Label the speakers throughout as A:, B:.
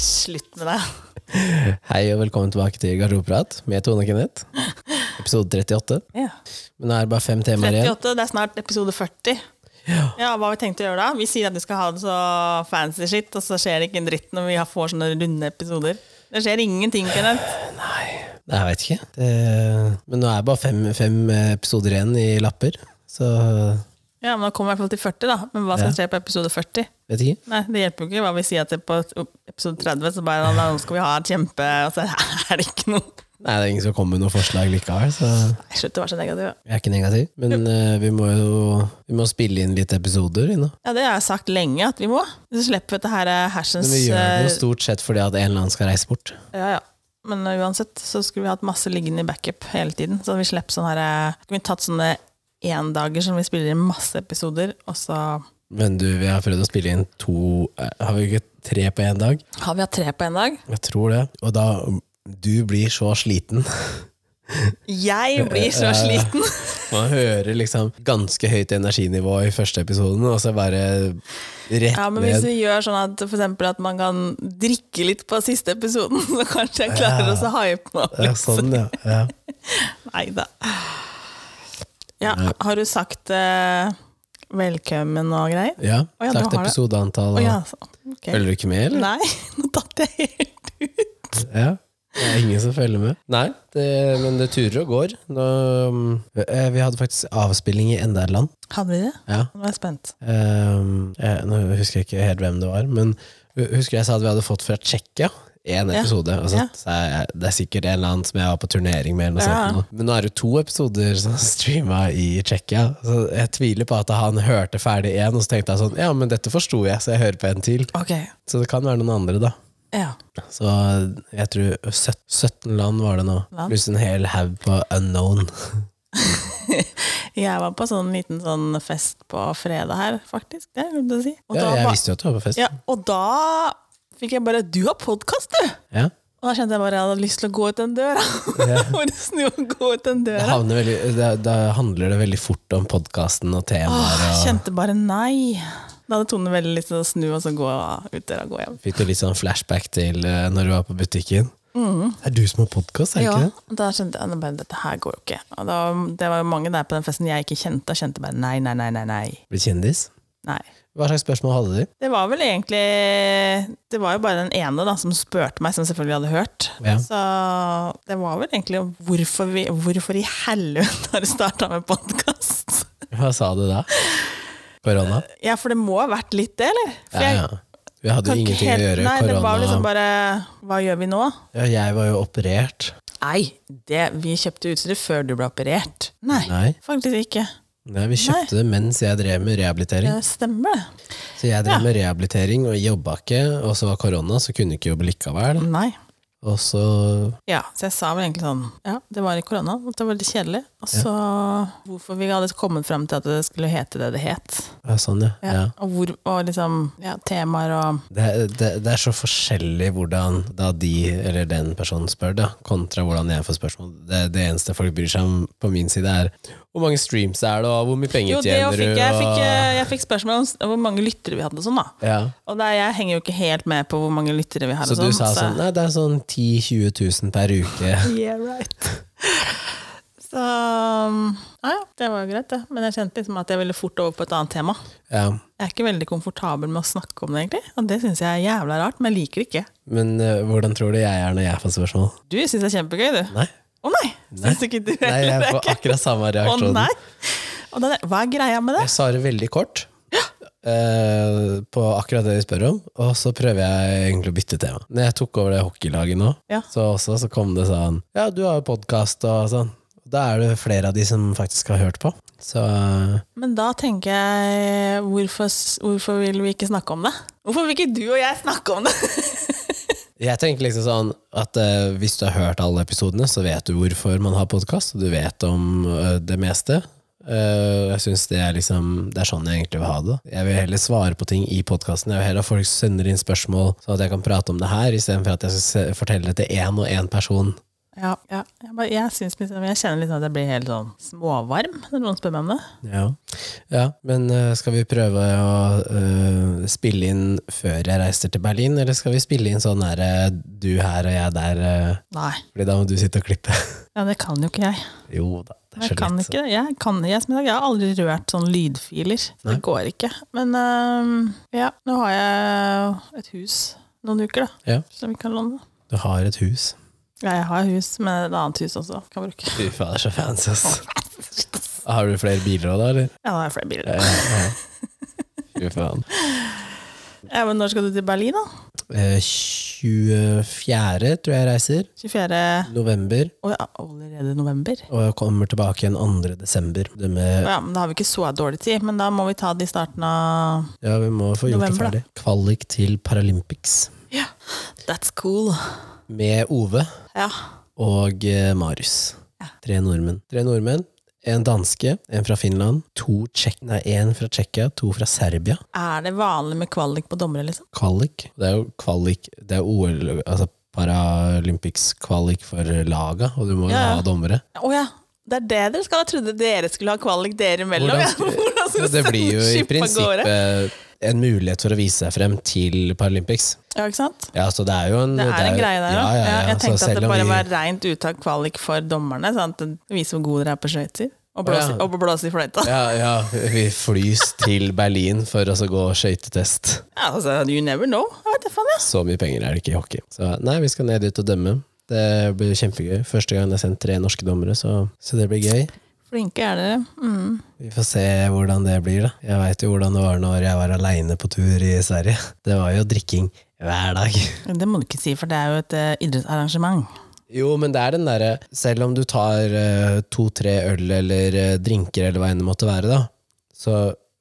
A: Slutt med det.
B: Hei og velkommen tilbake til Garderobeprat med Tone og Kenneth. Episode 38. Men nå er det bare fem temaer igjen.
A: 38, det er snart episode 40. Ja, Hva har vi tenkt å gjøre da? Vi sier at vi skal ha det så fancy shit, og så skjer det ikke en dritt når vi har- får sånne runde episoder. Det skjer ingenting, Kenneth.
B: Nei, nei, jeg vet ikke. Det, men nå er det bare fem, fem episoder igjen i lapper. Så
A: Ja, men Da kommer vi i hvert fall til 40, da. Men hva skal skje på episode 40?
B: vet ikke.
A: Nei, Det hjelper jo ikke hva vi sier at det på episode 30, så bare "Nei, nå skal vi ha et kjempe Og så er det ikke noe
B: Nei, det er ingen som kommer med noe forslag likevel, så jeg
A: Nei, Slutt å være så negativ.
B: er ikke negativ. Men eh, vi må jo vi må spille inn litt episoder vi, nå.
A: Ja, Det har jeg sagt lenge at vi må. Så slipper vi dette her eh, hersens
B: Men vi gjør det
A: eh,
B: jo stort sett fordi at en eller annen skal reise bort.
A: Ja, ja. Men eh, uansett så skulle vi hatt masse liggende i backup hele tiden. Så vi slipper sånne her Skulle vi tatt sånne endager som vi spiller inn masse episoder, og så
B: Men du, vi har prøvd å spille inn to eh, Har vi ikke tre på én dag?
A: Har vi hatt tre på én dag?
B: Jeg tror det. Og da Du blir så sliten.
A: Jeg blir så sliten!
B: Man hører liksom ganske høyt energinivå i første episoden, og så bare rett
A: Ja, men hvis
B: ned.
A: vi gjør sånn at for eksempel at man kan drikke litt på siste episoden, så kanskje jeg klarer å så hype meg opp
B: Ja,
A: litt.
B: sånn, ja. ja.
A: Nei da. Ja, har du sagt eh, velkommen og greier?
B: ja.
A: Å, ja, du har
B: Sagt
A: det.
B: episodeantall.
A: Å
B: og-
A: ja, så, ok.
B: Følger du ikke med, eller?
A: Nei, nå datt jeg helt ut.
B: Ja. Det er ingen som følger med. Nei, det, men det turer og går. Nå, eh, vi hadde faktisk avspilling i enda et land.
A: Hadde vi det?
B: Ja.
A: Nå er jeg spent.
B: Ehm, jeg, nå husker jeg ikke helt hvem det var, men hu- husker jeg sa at vi hadde fått fra Tsjekkia én
A: Ja.
B: episode. Og så,
A: Ja.
B: sa jeg, det er sikkert en eller annen som jeg var på turnering med. Eller noe
A: Ja.
B: sånt nå. Men nå er det jo to episoder som er streama i Tsjekkia. Så jeg tviler på at han hørte ferdig én, og så tenkte jeg sånn Ja, men dette forsto jeg, så jeg hører på en til.
A: Ok,
B: Så det kan være noen andre, da.
A: ja.
B: Så jeg tror søt- 17 land var det nå.
A: Land.
B: Pluss en hel haug på unknown.
A: Jeg var på sånn liten sånn fest på fredag her, faktisk. Det glemte jeg å si. Og,
B: Ja,
A: da,
B: jeg
A: ba-
B: visste jo at du var på fest.
A: ja, og da fikk jeg bare 'du har podkast, du!'
B: Ja.
A: Og da kjente jeg bare jeg hadde lyst til å gå ut den døra. Bare snu og gå ut den
B: Det
A: døra.
B: havner veldig, da, da handler det veldig fort om podkasten og temaer.
A: Jeg
B: Og
A: kjente bare nei. Da hadde Tone veldig lyst til å snu og så gå ut døra og gå hjem.
B: fikk du litt sånn flashback til eh, når du var på butikken? Det er du som har podkast, er det
A: Mm. Ja,
B: ikke det?
A: og da skjønte jeg nå bare, dette her går jo ikke. Og da, det var jo mange der på den festen jeg ikke kjente, og kjente bare nei, nei, nei, nei, nei.
B: Blitt kjendis?
A: nei.
B: Hva slags spørsmål hadde du?
A: Det var vel egentlig Det var jo bare den ene da, som spurte meg, som selvfølgelig hadde hørt.
B: Ja.
A: Så det var vel egentlig hvorfor, vi, hvorfor i helvete har du starta med podkast?
B: Hva sa du da? Korona?
A: Ja, for det må ha vært litt det, eller? For
B: Ja,
A: jeg
B: ja. Vi hadde
A: kan
B: jo
A: ikke
B: ingenting
A: helt-
B: å gjøre.
A: Nei, det
B: Korona
A: var liksom bare Hva gjør vi nå?
B: ja, Jeg var jo operert.
A: Nei, det, vi kjøpte utstyr før du ble operert. Nei,
B: Nei.
A: faktisk ikke.
B: Nei, vi kjøpte det mens jeg drev med rehabilitering.
A: Det stemmer, det.
B: Så jeg drev med rehabilitering og jobba ikke, og så var korona, så kunne ikke jobbe likevel.
A: Nei.
B: Og så
A: Ja, så jeg sa vel egentlig sånn Ja, det var i korona, og det var veldig kjedelig. Og så hvorfor vi hadde kommet frem til at det skulle hete det det het.
B: ja, Sånn, ja.
A: Ja.
B: ja.
A: Og, hvor, og liksom ja, temaer og
B: Det, det, det er så forskjellig hvordan da de eller den personen spør, da, kontra hvordan jeg får spørsmål. Det, det eneste folk bryr seg om på min side, er hvor mange streams er det, og hvor mye penger
A: Jo, det og
B: tjener du?
A: fikk jeg, fikk,
B: og-
A: eh, jeg fikk spørsmål om s- hvor mange lyttere vi hadde og sånn, da.
B: ja.
A: Og der, jeg henger jo ikke helt med på hvor mange lyttere vi har.
B: Så
A: og
B: du
A: sånn,
B: sa
A: så-
B: sånn Nei, det er sånn 10 000-20 000 per uke.
A: Yeah, right. Så um, ja, ja, det var jo greit, det. Men jeg kjente liksom at jeg ville fort over på et annet tema.
B: Ja.
A: Jeg er ikke veldig komfortabel med å snakke om det, egentlig. Og det syns jeg er jævla rart, men jeg liker det ikke.
B: Men eh, hvordan tror du jeg er når jeg får spørsmål?
A: Du syns det er kjempegøy, du.
B: Nei,
A: Å nei! Syns ikke du
B: nei jeg
A: heller det?
B: får akkurat samme
A: Å
B: reaksjon.
A: nei! Og da, hva er greia med det?
B: Jeg svarer veldig kort eh, på akkurat det de spør om, og så prøver jeg egentlig å bytte tema. Når jeg tok over det hockeylaget nå,
A: Ja.
B: så, også, så kom det sånn Ja, du har jo podkast og sånn. Da er det flere av de som faktisk har hørt på. Så
A: Men da tenker jeg hvorfor, hvorfor vil vi ikke snakke om det? Hvorfor vil ikke du og jeg snakke om det?
B: jeg tenker liksom sånn at eh, hvis du har hørt alle episodene, så vet du hvorfor man har podkast, og du vet om eh, det meste. Eh, jeg synes det, er liksom, det er sånn jeg egentlig vil ha det. Jeg vil heller svare på ting i podkasten. Jeg vil heller at folk sender inn spørsmål, sånn at jeg kan prate om det her, istedenfor at jeg skal se- fortelle det til én og én person
A: Ja, ja. Jeg, bare, jeg, syns liksom, jeg kjenner liksom at jeg blir helt sånn småvarm når noen spør meg om det.
B: Ja, ja men eh, skal vi prøve å eh, spille inn før jeg reiser til Berlin, eller skal vi spille inn sånn her eh, du her og jeg der? eh,
A: Nei.
B: Fordi da må du sitte og klippe.
A: Ja, det kan jo ikke jeg.
B: jo da, det er
A: Jeg
B: så
A: kan
B: lett.
A: ikke det. Jeg, kan, jeg, som sagt, jeg har aldri rørt sånn lydfiler. Det går ikke. Men øhm, ja, nå har jeg et hus noen uker, da,
B: Ja,
A: som vi kan låne.
B: du har et hus.
A: Ja, jeg har hus, men et annet hus også kan jeg bruke.
B: Fy fader, så fancy, ass. Har du flere biler òg, da, eller?
A: Ja, nå har jeg flere biler.
B: Ja, ja. Fy faen.
A: Ja, men når skal du til Berlin, da?
B: Eh, 24. tror jeg reiser.
A: 24.
B: November.
A: Å ja, allerede november?
B: Og jeg kommer tilbake igjen 2. desember. Det med,
A: Ja, men Da har vi ikke så dårlig tid, men da må vi ta det i starten av
B: ja, vi må få gjort
A: November, da.
B: det ferdig. Kvalik til Paralympics
A: Ja, that's cool.
B: med Ove
A: Ja.
B: og eh, Marius.
A: Ja.
B: Tre nordmenn. Tre nordmenn. En danske, en fra Finland, to tjekk... Nei, en fra Tsjekkia, to fra Serbia.
A: Er det vanlig med kvalik på dommere, liksom?
B: Kvalik. Det er jo kvalik Det er OL, altså Paralympics-kvalik for laga, og du må jo
A: Ja, ja.
B: ha dommere.
A: Å ja, det er det dere skal ha. Jeg trodde dere skulle ha kvalik dere imellom.
B: Hvordan
A: ja.
B: skal-
A: Hvordan
B: Så det blir jo i
A: skipet gårde?
B: prinsippet en mulighet for å vise seg frem til Paralympics.
A: Ja, ikke sant?
B: Ja, så det er jo en
A: Det er en
B: jo-
A: greie der
B: ja,
A: òg.
B: ja, ja.
A: Jeg
B: Så
A: tenkte at
B: selv
A: det
B: om
A: bare
B: vi-
A: var rent uttak kvalik for dommerne. Sånn at det viser hvor gode dere er på skøyter. Og blåse
B: Å, ja.
A: og blåse i fløyta. Ja.
B: ja, ja, vi flys til Berlin for å så gå skøytetest.
A: altså, you never know. Jeg vet da faen, jeg.
B: Så mye penger er det ikke i hockey. Så nei, vi skal ned dit og dømme. Det blir kjempegøy. Første gang jeg har sendt tre norske dommere, så, så det blir gøy.
A: Flinke er dere. Mm.
B: Vi får se hvordan det blir, da. Jeg veit jo hvordan det var når jeg var aleine på tur i Sverige. Det var jo drikking hver dag.
A: Det må du ikke si, for det er jo et eh, idrettsarrangement.
B: Jo, men det er den derre Selv om du tar eh, to-tre øl eller eh, drinker eller hva enn det måtte være, da. Så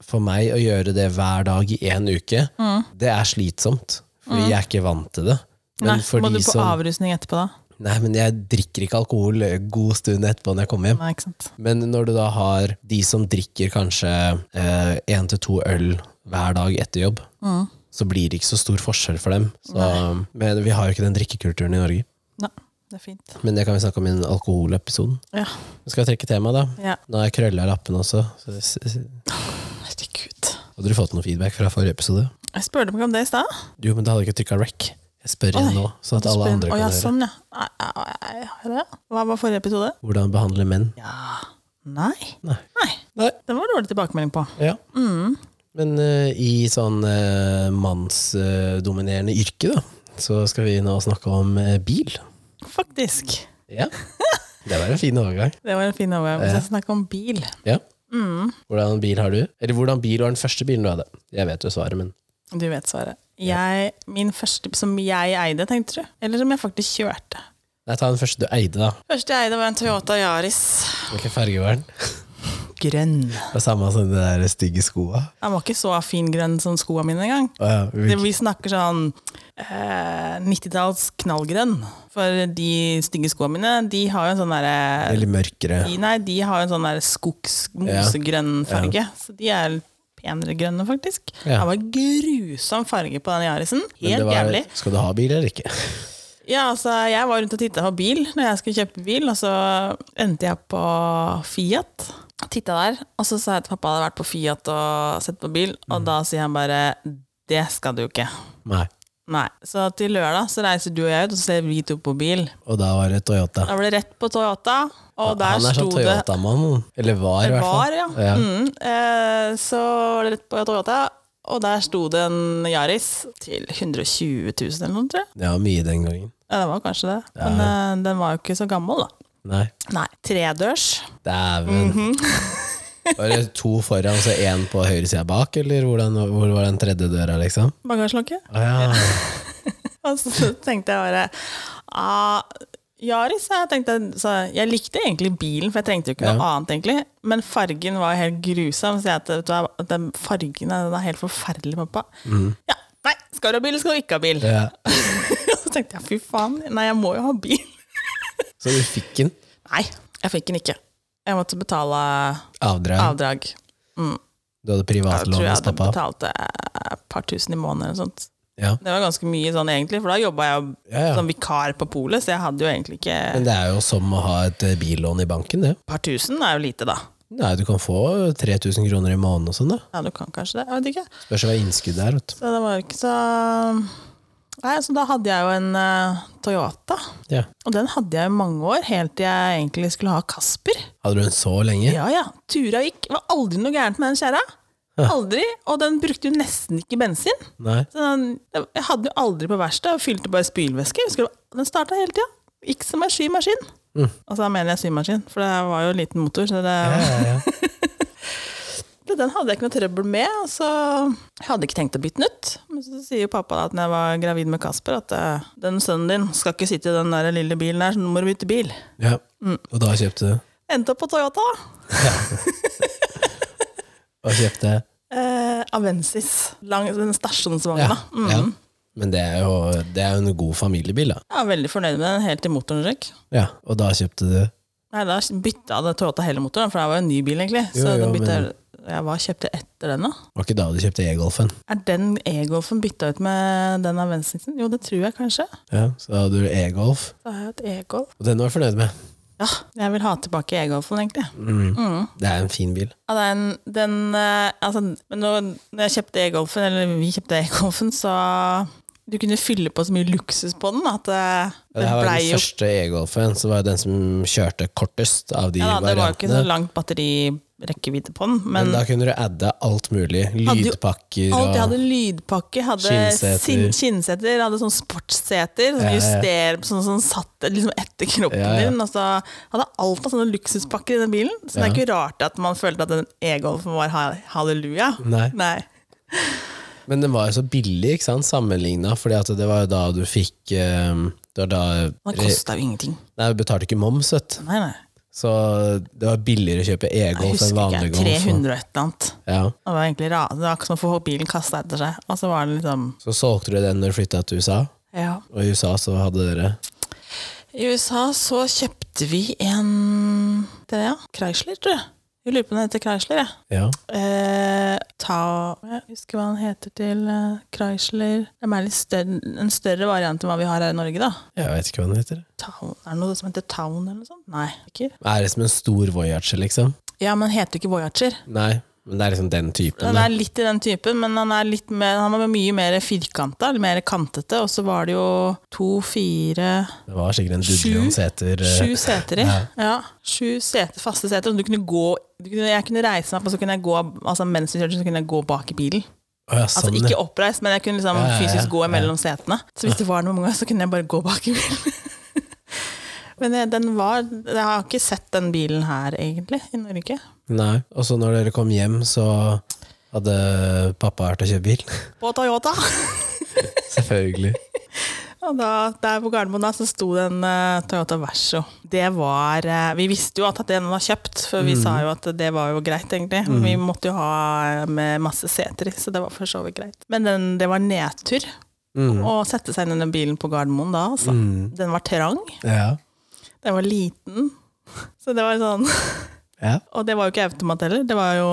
B: for meg å gjøre det hver dag i én uke,
A: Mm.
B: det er slitsomt. Fordi jeg er ikke vant til det. Men
A: Nei,
B: for
A: må
B: de
A: du på
B: som
A: avrusning etterpå, da?
B: Nei, men jeg drikker ikke alkohol eh, god stund etterpå når jeg kommer hjem.
A: Nei, ikke sant.
B: Men når du da har de som drikker kanskje én til to øl hver dag etter jobb,
A: Mm.
B: så blir det ikke så stor forskjell for dem. Så, men vi har jo ikke den drikkekulturen i Norge.
A: Nei, det er fint.
B: Men det kan vi snakke om i en alkoholepisode.
A: Ja.
B: Skal jeg trekke temaet, da?
A: ja.
B: Nå har jeg krølla lappen også. Så, s- s-
A: Herregud.
B: hadde du fått noe feedback fra forrige episode?
A: Jeg spurte meg om det i stad.
B: Jo, men da hadde jeg ikke trykka rec. Jeg spør igjen
A: Oi,
B: nå, sånn at alle
A: Spør-
B: andre
A: Å,
B: kan
A: ja,
B: høre.
A: Sånn, ja. Nei, nei, nei, har jeg det? Hva var forrige episode?
B: Hvordan behandle menn?
A: Ja Nei.
B: Nei.
A: Nei.
B: Nei.
A: Den var dårlig tilbakemelding på.
B: Ja.
A: Mm.
B: Men eh, i sånn eh, mannsdominerende yrke, da, så skal vi nå snakke om eh, bil.
A: Faktisk.
B: Ja. Det var en fin overgang.
A: Det var en fin overgang. Vi skal snakke om bil.
B: Ja.
A: Mm.
B: Hvordan bil har du? Eller hvordan bil var den første bilen du hadde? Jeg vet jo svaret, men
A: Du vet svaret. Jeg, min første som jeg eide, tenkte du? Eller som jeg faktisk kjørte.
B: Nei, ta den første du eide, da.
A: Første jeg eide, var en Toyota Yaris.
B: Hvilken farge var den?
A: Grønn.
B: Det var samme som de der stygge skoa.
A: Den var ikke så fingrønn som skoa mine engang.
B: Å ja,
A: Det,
B: hvilken-
A: vi snakker sånn eh, 90-talls knallgrønn. For de stygge skoa mine, de har jo en sånn derre
B: Eller mørkere.
A: De, nei, de har jo en sånn der skogsmosegrønn farge. Så de er penere grønne, faktisk.
B: Ja.
A: Det var grusom farge på den Yarisen.
B: Men det
A: Helt
B: var-
A: jævlig.
B: Skal du ha bil eller ikke?
A: Ja, altså, jeg var rundt og titta på bil når jeg skulle kjøpe bil, og så endte jeg på Fiat. Titta der, og så sa jeg til pappa at jeg hadde vært på Fiat og sett på bil,
B: Mm.
A: og da sier han bare 'det skal du jo ikke'.
B: Nei.
A: Nei. Så til lørdag så reiser du og jeg ut, og så ser vi to på bil.
B: Og da var det Toyota.
A: Da ble det rett på Toyota, og der
B: Han er
A: sto
B: sånn
A: det
B: Toyota-mann. Eller var, i
A: Det
B: hvert fall.
A: var, ja. Mm, eh, så var det rett på Toyota, og der sto det en Yaris til 120 000 eller noe, tror jeg.
B: Det var mye den gangen.
A: Ja, det var kanskje det. Men eh, den var jo ikke så gammel, da.
B: Nei.
A: Nei. Tredørs.
B: Dæven.
A: Mhm.
B: Var det to foran, så én på høyre side bak, eller hvordan, hvor var den tredje døra, liksom?
A: Bagasjelokket.
B: Å ja.
A: Og så tenkte jeg bare ah, Yaris jeg tenkte, så jeg likte egentlig bilen, for jeg trengte jo ikke noe annet. egentlig Men fargen var helt grusom. Så jeg at, vet du, hva, at den fargen er- den er helt forferdelig, pappa. Ja, Nei, skal du ha bil, skal du ikke ha bil.
B: ja.
A: Og så tenkte jeg fy faen, nei, jeg må jo ha bil.
B: Så du fikk den?
A: Nei, jeg fikk den ikke. Jeg måtte betale
B: Avdrag.
A: avdrag.
B: Du hadde
A: Jeg tror
B: privatlån
A: jeg
B: hos
A: hadde
B: pappa.
A: betalt eh, et par tusen i måneden eller noe sånt.
B: Ja.
A: Det var ganske mye sånn egentlig, for da jobba jeg jo
B: Ja, ja.
A: som vikar på polet, så jeg hadde jo egentlig ikke
B: Men det er jo som å ha et eh, billån i banken, det.
A: Et par tusen er jo lite, da.
B: Nei, du kan få 3000 kroner i måneden og sånn, da.
A: Ja, du kan kanskje det. Jeg vet ikke.
B: Spørs hva innskuddet er, vet du.
A: Så det var jo ikke så Nei, så da hadde jeg jo en eh, Toyota.
B: Ja.
A: Og den hadde jeg i mange år, helt til jeg egentlig skulle ha Kasper.
B: Hadde du den så lenge?
A: Ja, ja. Tura gikk. Det var aldri noe gærent med den kjerra. Aldri. Og den brukte jo nesten ikke bensin.
B: Nei.
A: Så den, jeg hadde den jo aldri på verksted, og fylte bare spylvæske. Jeg husker det var- Den starta hele tida. Gikk som ei symaskin. Og så mener jeg symaskin, for det var jo en liten motor. Så det,
B: Mm. Ja, ja.
A: Så Den hadde jeg ikke noe trøbbel med, og så jeg hadde ikke tenkt å bytte den ut. Men så sier jo pappa da at når jeg var gravid med Kasper, at eh, den sønnen din skal ikke sitte i den der lille bilen der, så nå må du bytte bil.
B: ja.
A: Mm.
B: Og da kjøpte du?
A: Endte opp på Toyota, da.
B: Hva kjøpte jeg?
A: Eh, Avensis. Lang, den stasjonsvogna.
B: Ja.
A: Ja. Mm.
B: ja. Men det er, jo, det er jo en god familiebil, da.
A: Jeg var veldig fornøyd med den, helt til motoren røk.
B: Ja. Og da kjøpte du
A: Nei, da bytta jeg Toyota hele motoren, for det var jo en ny bil, egentlig. Så
B: Jo, jo,
A: den bytta
B: men-
A: jeg Hva kjøpte jeg etter den, da?
B: Var ikke da du kjøpte e-golfen?
A: Er den E-Golfen bytta ut med den Avensisen? Jo, det tror jeg kanskje.
B: Ja, så da hadde du e-golf,
A: Da har jeg et E-Golf.
B: og den var jeg fornøyd med. Mm.
A: Ja, jeg vil ha tilbake E-Golfen, egentlig. Mm.
B: Det er en fin bil.
A: Ja, den, den eh, altså, Men nå, når jeg kjøpte e-golfen, eller vi kjøpte e-golfen, så du kunne fylle på så mye luksus på den at eh,
B: Det
A: det
B: her var
A: blei
B: den
A: jo
B: første e-golfen, så var det den som kjørte kortest av de
A: ja, da, Det var jo ikke så
B: variantene.
A: langt batterirekkevidde på den,
B: Men
A: men
B: da kunne du adde alt mulig.
A: Hadde jo-
B: Lydpakker
A: alt
B: og
A: jeg hadde lydpakke, hadde
B: Skinnseter.
A: sin- skinnseter, hadde sånn sportsseter som
B: Ja, ja.
A: juster, sånn som satt liksom etter kroppen
B: Ja, ja.
A: din. Og så hadde alt av sånne luksuspakker i den bilen, så det er ikke rart at man følte at den e-golfen var ha- halleluja.
B: Nei.
A: Nei.
B: Men den var jo så billig, ikke sant, sammenligna, fordi at det var jo da du fikk eh, Det var da
A: Den kosta jo ingenting.
B: Nei, du betalte ikke moms, vet du.
A: Nei, nei.
B: Så det var billigere å kjøpe
A: Jeg
B: e-golf enn
A: husker
B: vanlig
A: ikke.
B: golf.
A: 300 og et eller annet.
B: Ja.
A: Det var egentlig ra- det var ikke som å få bilen kasta etter seg. Og så var det liksom
B: Så solgte du den når du flytta til USA,
A: ja.
B: og i USA så hadde dere
A: I USA så kjøpte vi en det er, ja, Chrysler, tror jeg. Jeg lurer på om den heter Chrysler, jeg.
B: Ja.
A: Eh, ta, jeg husker hva den heter til eh, Chrysler. Den er litt større, en større variant enn hva vi har her i Norge, da.
B: Jeg vet ikke hva den heter.
A: Town, er det noe som heter Town eller noe sånt? Nei. ikke.
B: Er det som en stor Voyager, liksom?
A: Ja, men den heter jo ikke Voyager.
B: Nei, men det er liksom den typen.
A: Den
B: da.
A: er litt i den typen, men han er, litt mer, han var mye mer firkanta, eller mer kantete. Og så var det jo to, fire,
B: Det var sikkert en dudjon
A: Sju-
B: seter eh,
A: sju seter i. Ja. sju seter, faste seter. og Du kunne gå, du kunne, jeg kunne reise meg opp, og så kunne jeg gå altså mens vi kjørte, så kunne jeg gå bak i bilen.
B: Å ja, sånn,
A: Altså
B: ja.
A: ikke oppreist, men jeg kunne liksom
B: Ja, ja, ja,
A: fysisk gå
B: ja.
A: mellom setene. Så hvis det var noen ganger, så kunne jeg bare gå bak i bilen. Men eh, den var Jeg har ikke sett den bilen her, egentlig, i Norge.
B: Nei. Og så når dere kom hjem, så hadde pappa vært og kjøpt bil.
A: På Toyota!
B: Selvfølgelig.
A: Og da, der på Gardermoen da, så sto det en eh, Toyota Verso. Det var, eh, vi visste jo at den var kjøpt, for vi sa jo at det var jo greit, egentlig. Vi måtte jo ha eh, med masse seter i, så det var for så vidt greit. Men den, det var nedtur å sette seg inn i den bilen på Gardermoen da. Altså. Den var trang,
B: Ja.
A: den var liten. Så det var sånn
B: ja.
A: Og det var jo ikke automat heller, det var jo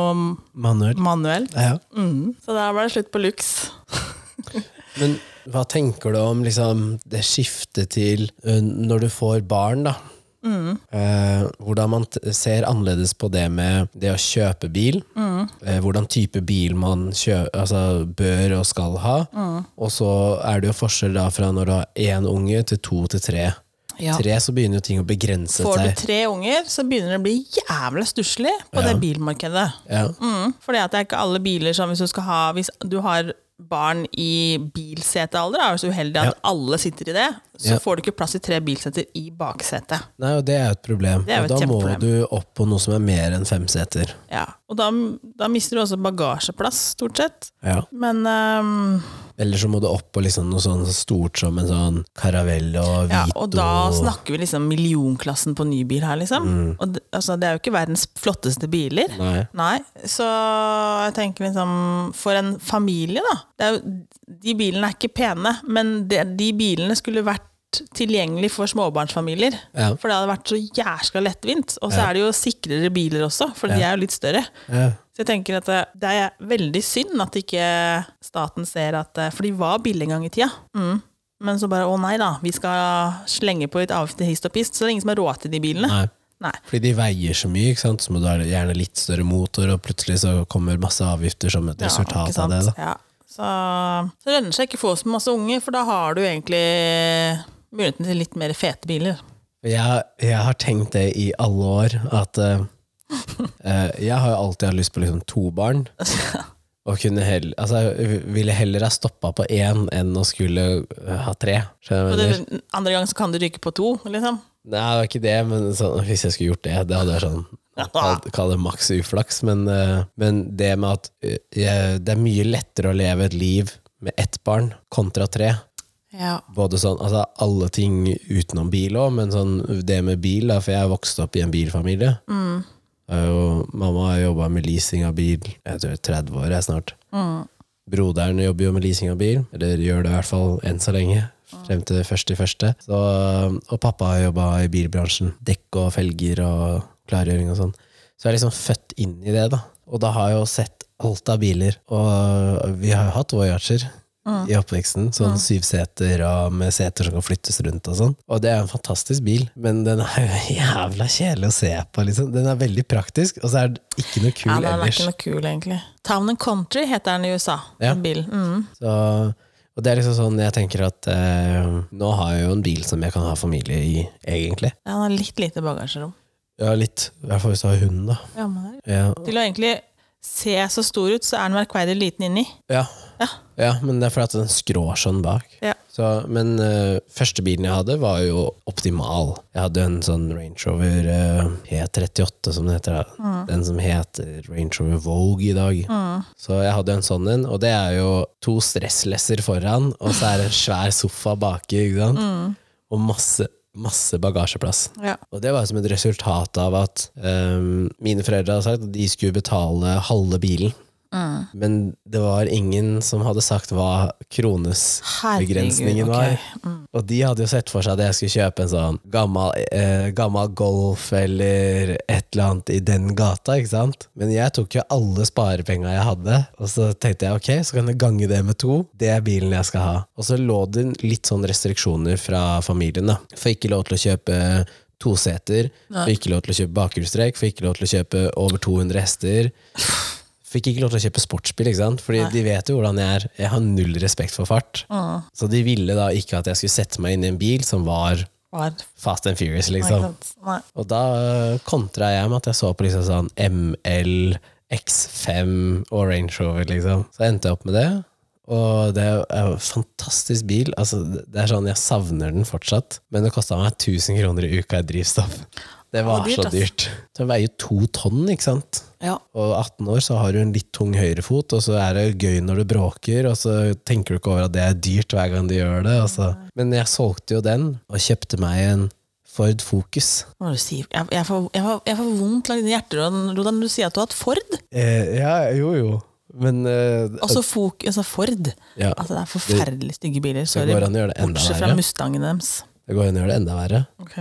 B: Manuel.
A: manuelt.
B: Ja.
A: Mm. Så da ble det slutt på lux.
B: Men hva tenker du om liksom, det skiftet til eh, når du får barn, da?
A: Mm.
B: Eh, hvordan man t ser annerledes på det med det å kjøpe bil.
A: Mm.
B: Eh, hvordan type bil man kjø altså, bør og skal ha.
A: Mm.
B: Og så er det jo forskjell da fra når du har én unge til to til tre. Tre så begynner jo ting å begrense
A: Får du
B: seg.
A: tre unger, så begynner det å bli jævlig stusslig på det bilmarkedet.
B: Ja.
A: Mm, fordi at det er ikke alle biler som hvis du skal ha Hvis du har barn i bilsetealder, er du så uheldig at alle sitter i det, så
B: Ja.
A: får du ikke plass i tre bilseter i baksetet.
B: Nei, og det er jo et problem.
A: Det er jo et
B: og da må
A: kjempeproblem.
B: du opp på noe som er mer enn fem seter.
A: Ja. Og da, da mister du også bagasjeplass, stort sett.
B: Ja.
A: Men ehm,
B: Eller så må du opp på liksom noe sånn stort som en sånn Caravelle og Vito.
A: ja, Og da snakker vi liksom millionklassen på ny bil her, liksom. Og det, altså, det er jo ikke verdens flotteste biler.
B: Nei.
A: Nei, så jeg tenker liksom For en familie, da. Det er jo, de bilene er ikke pene, men det, de bilene skulle vært tilgjengelig for småbarnsfamilier.
B: Ja.
A: For det hadde vært så jæskla lettvint. Og så er det jo sikrere biler også, for de er jo litt større.
B: Ja.
A: eh, Så jeg tenker at det, det er veldig synd at ikke staten ser at eh, For de var billige en gang i tida. Mm. Men så bare å nei da, vi skal slenge på litt avgift til hist og pist, så det er ingen som har råd til de bilene.
B: Nei.
A: Nei.
B: Fordi de veier så mye, ikke sant? så må du ha gjerne litt større motor, og plutselig så kommer masse avgifter som et
A: Ja,
B: resultat
A: ikke sant?
B: av det. Da.
A: Ja. Så, så det lønner seg ikke å få så masse unge, for da har du egentlig muligheten til litt mer fete biler.
B: Jeg, jeg har tenkt det i alle år, at eh, eh, jeg har jo alltid hatt lyst på liksom to barn. Og kunne heller, altså, jeg ville heller ha stoppa på én enn å skulle eh, ha tre. Skjønner du
A: Og
B: hva jeg
A: det,
B: mener?
A: andre gang så kan du ryke på to, liksom.
B: Nei, det var ikke det, men sånn, hvis jeg skulle gjort det, det hadde vært sånn kall- Kall det maks uflaks, men, eh, men det med at eh, jeg, det er mye lettere å leve et liv med ett barn kontra tre.
A: Ja.
B: Både sånn, altså alle ting utenom bil òg, men sånn det med bil, da, for jeg vokste opp i en bilfamilie. Eh, Og mamma har jobba med leasing av bil, jeg tror 30 år jeg snart. Broderen jobber jo med leasing av bil, eller gjør det i hvert fall enn så lenge. Frem til første i første. Så, og pappa har jobba i bilbransjen. Dekk og felger og klargjøring og sånn. Så jeg er liksom født inn i det, da. Og da har jeg jo sett alt av biler. Og vi har jo hatt Voyager
A: Mm.
B: i oppveksten. Sånn syv seter og med seter som kan flyttes rundt og sånn. Og det er en fantastisk bil, men den er jo jævla kjedelig å se på, liksom. Den er veldig praktisk, og så er den ikke noe kul
A: Ja, den er
B: ellers.
A: ikke noe kul, egentlig. Town and Country heter den i USA.
B: Ja.
A: Den bilen. Mm.
B: Så, og det er liksom sånn jeg tenker at eh, nå har jeg jo en bil som jeg kan ha familie i, egentlig.
A: Ja, den har litt lite bagasjerom.
B: Ja, litt. I hvert fall hvis du har hunden, da.
A: Ja, men det er-
B: Ja,
A: Til å egentlig se så stor ut, så er den merkverdig liten inni.
B: ja.
A: Ja.
B: ja men det er fordi at den skrår sånn bak.
A: Ja.
B: Så, men eh, første bilen jeg hadde, var jo optimal. Jeg hadde en sånn Range Rover eh, E38, som det heter. da. Den som heter Range Rover Vogue i dag. Så jeg hadde en sånn en, og det er jo to stresslesser foran, og så er det en svær sofa baki, ikke sant? og masse, masse bagasjeplass.
A: Ja.
B: Og det var som et resultat av at ehm, mine foreldre hadde sagt at de skulle betale halve bilen. Men det var ingen som hadde sagt hva kronesbegrensningen
A: Herregud,
B: var.
A: ok. Mm.
B: Og de hadde jo sett for seg at jeg skulle kjøpe en sånn gammel, eh, gammel Golf eller et eller annet i den gata, ikke sant? Men jeg tok jo alle sparepenga jeg hadde, og så tenkte jeg ok, så kan jeg gange det med to. Det er bilen jeg skal ha. Og så lå det litt sånn restriksjoner fra familien, da. Får ikke lov til å kjøpe toseter, får ikke lov til å kjøpe bakhjulstrekk, får ikke lov til å kjøpe over 200 hester. Fikk ikke lov til å kjøpe sportsbil, ikke sant? Fordi de vet jo hvordan jeg er. Jeg har null respekt for fart.
A: Mm.
B: Så de ville da ikke at jeg skulle sette meg inn i en bil som var
A: Var,
B: Fast and Furious,
A: ikke
B: liksom.
A: sant? Sånn Nei.
B: Og da øh, kontra jeg med at jeg så på liksom sånn ML, X5 og Range Rover, liksom. Så jeg endte jeg opp med det. Og det er jo en fantastisk bil. Altså, det er sånn, Jeg savner den fortsatt, men det kosta meg 1000 kroner i uka i drivstoff. Det var
A: dyrt,
B: så
A: ass.
B: dyrt. Den veier to tonn, ikke sant?
A: Ja.
B: Og 18 år så har du en litt tung høyrefot, og så er det gøy når du bråker, og så tenker du ikke over at det er dyrt hver gang du gjør det. og så- Men jeg solgte jo den, og kjøpte meg en Ford Focus.
A: Hva er det du sier? Jeg, jeg, får, jeg, får, jeg får vondt langs hjerteroden Rodan, når du sier at du har hatt Ford.
B: Eh, ja, jo jo, men eh,
A: Også fok, altså Ford.
B: ja,
A: Altså, det er forferdelig stygge biler.
B: det
A: Sorry.
B: går an å gjøre det enda
A: Bortsett fra
B: verre.
A: Mustangen deres.
B: Det går an å gjøre det enda verre.
A: Ok.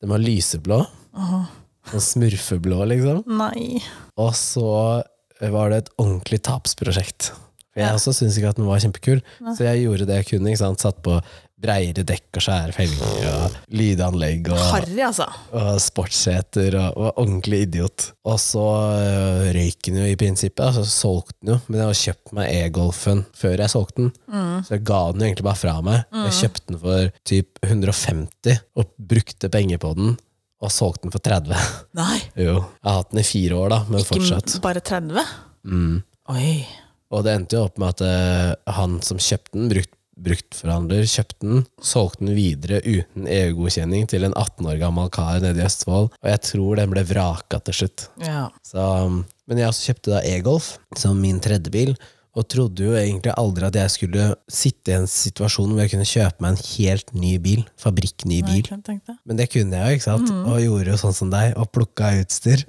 B: Den var lyseblå. Sånn smurfeblå, liksom.
A: Nei.
B: Og så var det et ordentlig tapsprosjekt. For jeg også syntes ikke at den var kjempekul, så jeg gjorde det jeg kunne. Ikke sant? Satt på breiere dekk og skjære felger og lydanlegg og,
A: Harry, altså.
B: og sportsseter og var ordentlig idiot. Og så øh, røyk den jo i prinsippet, og så solgte den jo. Men jeg hadde kjøpt meg e-golfen før jeg solgte den, så jeg ga den jo egentlig bare fra meg. Jeg kjøpte den for typ 150 og brukte penger på den, og solgte den for 30.
A: Nei.
B: Jo, jeg har hatt den i fire år, da, men
A: Ikke
B: fortsatt. Mm.
A: bare 30? Oi.
B: Og det endte jo opp med at eh, han som kjøpte den, brukt, bruktforhandler, kjøpte den, solgte den videre uten EU-godkjenning til en 18 år gammel kar nede i Østfold, og jeg tror den ble vraka til slutt.
A: Ja.
B: Så, um, men jeg også kjøpte da e-golf som min tredje bil, og trodde jo egentlig aldri at jeg skulle sitte i en situasjon hvor jeg kunne kjøpe meg en helt ny bil,
A: Nei,
B: fabrikkny
A: Mm.
B: bil.
A: jeg tenkte.
B: Men det kunne jeg jo, ikke sant? Og gjorde jo sånn som deg, og plukka utstyr.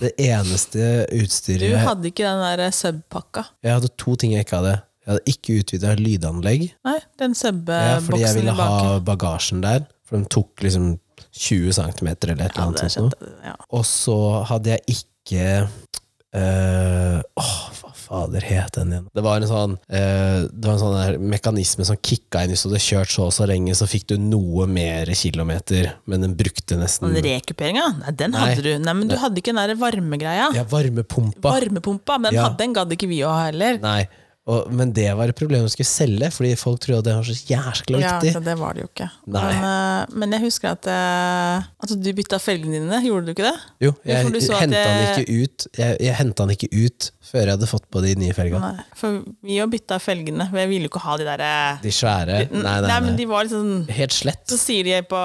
B: Det eneste
A: Mm. Du
B: utstyret jeg-
A: hadde ikke den der eh, sub-pakka.
B: jeg hadde to ting jeg ikke hadde. Jeg hadde ikke utvida lydanlegg,
A: Nei, den
B: ja,
A: sub-boksen
B: fordi jeg ville
A: i
B: ha
A: baken.
B: bagasjen der. For de tok liksom 20 cm eller et eller
A: Ja,
B: annet
A: det
B: sånt.
A: skjønte
B: noe.
A: jeg. Ja.
B: Og så hadde jeg ikke eh, Åh, hva fader het den igjen? Det var en sånn eh, Det var en sånn der mekanisme som kicka inn hvis du hadde kjørt så og så lenge, så fikk du noe mer kilometer, men den brukte nesten
A: Den rekuperinga? Nei, den
B: Mm. Nei.
A: hadde du. Nei, men du hadde ikke den der varmegreia.
B: Ja, varmepumpa.
A: Varmepumpa, men
B: Ja.
A: hadde- den gadd ikke vi å ha heller.
B: Nei. Og, men det var et problem å skulle selge, fordi folk trodde at det var så jæskla
A: Ja,
B: viktig.
A: så det var det jo ikke.
B: Nei.
A: Men, eh, men jeg husker at eh, altså, du bytta felgene dine, gjorde du ikke det?
B: Jo,
A: Ja,
B: jeg
A: for du sa at
B: henta den
A: det-
B: ikke ut Jeg, jeg henta den ikke ut før jeg hadde fått på de nye felgene.
A: Nei, for vi jo bytta felgene, for jeg ville jo ikke ha de derre
B: De svære. Nei, nei,
A: men
B: nei.
A: de var liksom sånn
B: Helt slett.
A: Så sier de på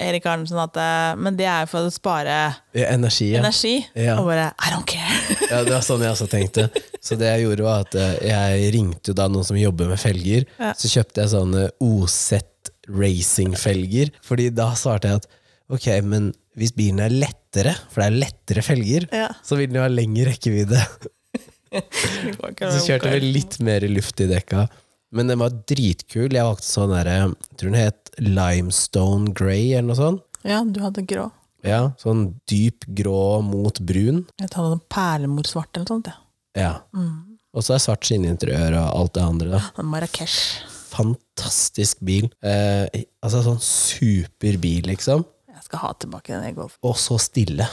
A: Erik Arnesen at eh, Men det er jo for å spare
B: Ja, Energi. Ja.
A: energi.
B: Ja.
A: Og bare I don't care!
B: ja, det var sånn jeg også tenkte. Så det jeg gjorde, var at eh, jeg ringte jo da noen som jobber med felger. Så kjøpte jeg sånne Osett racing-felger, Fordi da svarte jeg at ok, men hvis bilen er lettere, for det er lettere felger,
A: Ja.
B: så vil den jo ha lengre rekkevidde.
A: Det går ikke
B: Så
A: å-
B: kjørte vi litt mer luft i dekka. Men den var dritkul. Jeg valgte sånn derre jeg Tror den het Limestone Grey eller noe sånt.
A: Ja, du hadde grå.
B: Ja, sånn dyp grå mot brun.
A: Jeg hadde noe perlemorsvart eller noe sånt. Ja.
B: Ja. Og så er svart skinninteriør og alt det andre. da.
A: Marrakech.
B: Fantastisk bil. Eh, altså sånn superbil, liksom.
A: Jeg skal ha tilbake den jeg går for.
B: Og så stille.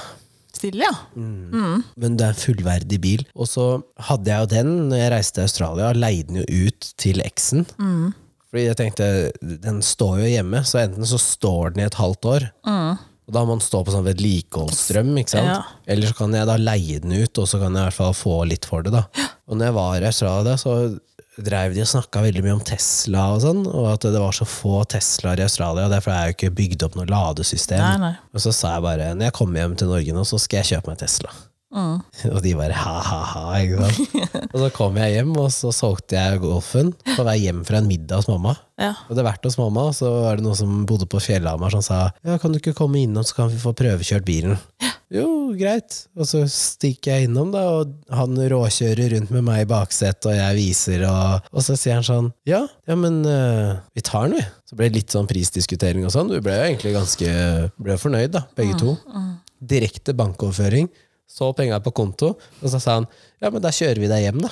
A: Stille, ja.
B: Mm. Men det er en fullverdig bil. Og så hadde jeg jo den når jeg reiste til Australia, og leide den jo ut til eksen. Fordi jeg tenkte, den står jo hjemme, så enten så står den i et halvt år, og da må den stå på sånn vedlikeholdsstrøm, ikke sant?
A: Ja.
B: Eller så kan jeg da leie den ut, og så kan jeg i hvert fall få litt for det da. Og når jeg var i Australia, så drev de og snakket veldig mye om Tesla og sånn, og at det var så få Teslaer i Australia, og derfor er jo ikke bygd opp noe ladesystem.
A: Nei, nei.
B: Og så sa jeg bare, når jeg kommer hjem til Norge nå, så skal jeg kjøpe meg Tesla.
A: Mm.
B: Og de bare ha-ha-ha. ikke sant? og så kom jeg hjem, og så solgte jeg Golfen på vei hjem fra en middag hos mamma.
A: Ja.
B: Og det hadde vært hos mamma, og så var det noen som bodde på Fjellhamar som sa ja, kan du ikke komme innom, så kan vi få prøvekjørt bilen. Jo, greit. Og så stikker jeg innom, da, og han råkjører rundt med meg i baksetet, og jeg viser, og, og så sier han sånn ja, ja, men eh, vi tar den, vi. Så ble det litt sånn prisdiskutering og sånn. Vi ble jo egentlig ganske ble fornøyd, da, begge to. Direkte bankoverføring. Så penga på konto, og så sa han ja, men da kjører vi deg hjem, da.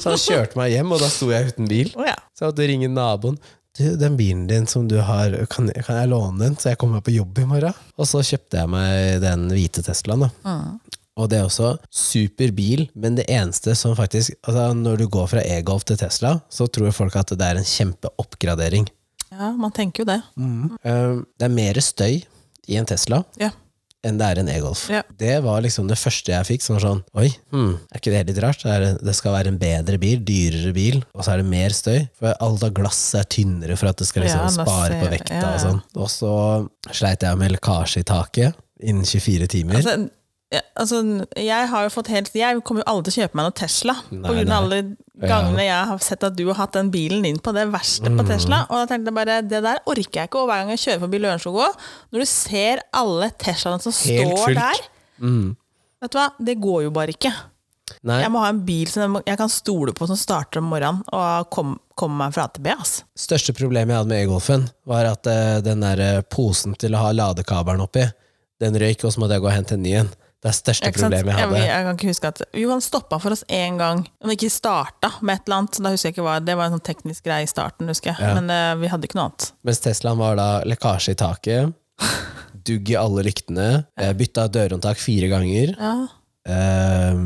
B: Så han kjørte meg hjem, og da sto jeg uten bil.
A: Å ja.
B: Så jeg måtte ringe naboen. Du, den bilen din som du har, kan, kan jeg låne den, så jeg kommer meg på jobb i morgen? Og så kjøpte jeg meg den hvite Teslaen, da. Og det er også super bil, men det eneste som faktisk altså Når du går fra e-golf til Tesla, så tror folk at det er en kjempeoppgradering.
A: ja, man tenker jo det.
B: Um, det er mer støy i en Tesla
A: Ja.
B: enn det er en e-golf.
A: Ja.
B: Det var liksom det første jeg fikk. Sånn, sånn Oi, hmm, er ikke det litt rart? Det, er, det skal være en bedre bil, dyrere bil, og så er det mer støy. For alt av glass er tynnere for at det skal liksom
A: Ja, glass er-
B: spare på vekta
A: ja, ja.
B: og sånn. Og så sleit jeg med lekkasje i taket innen 24 timer.
A: Altså, ja, altså, jeg har jo fått helt Jeg kommer jo aldri til å kjøpe meg noe Tesla.
B: Nei,
A: på grunn av alle gangene jeg har sett at du har hatt den bilen din på det verste
B: Mm.
A: på Tesla. Og da tenkte jeg bare, det der orker jeg ikke. Og hver gang jeg kjører forbi Lørenskog òg, når du ser alle Teslaene som
B: Helt
A: står
B: fullt.
A: der Vet du hva, det går jo bare ikke.
B: Nei,
A: Jeg må ha en bil som jeg, må, jeg kan stole på, som starter om morgenen og kom- kommer meg fra AtB. ass.
B: største problemet jeg hadde med e-golfen, var at eh, den der eh, posen til å ha ladekabelen oppi, den røyk, og så måtte jeg gå og hente en ny en. Det er største
A: Ikke sant?
B: problemet jeg
A: Ja, men
B: hadde.
A: jeg kan ikke huske at Jo, han stoppa for oss én gang, men ikke starta med et eller annet. Så da husker jeg ikke hva Det var en sånn teknisk greie i starten, husker jeg. Men eh, vi hadde ikke noe annet.
B: Mens Teslaen var da lekkasje i taket, dugg i alle lyktene, eh, bytta dørhåndtak fire ganger,
A: Ja.
B: eh,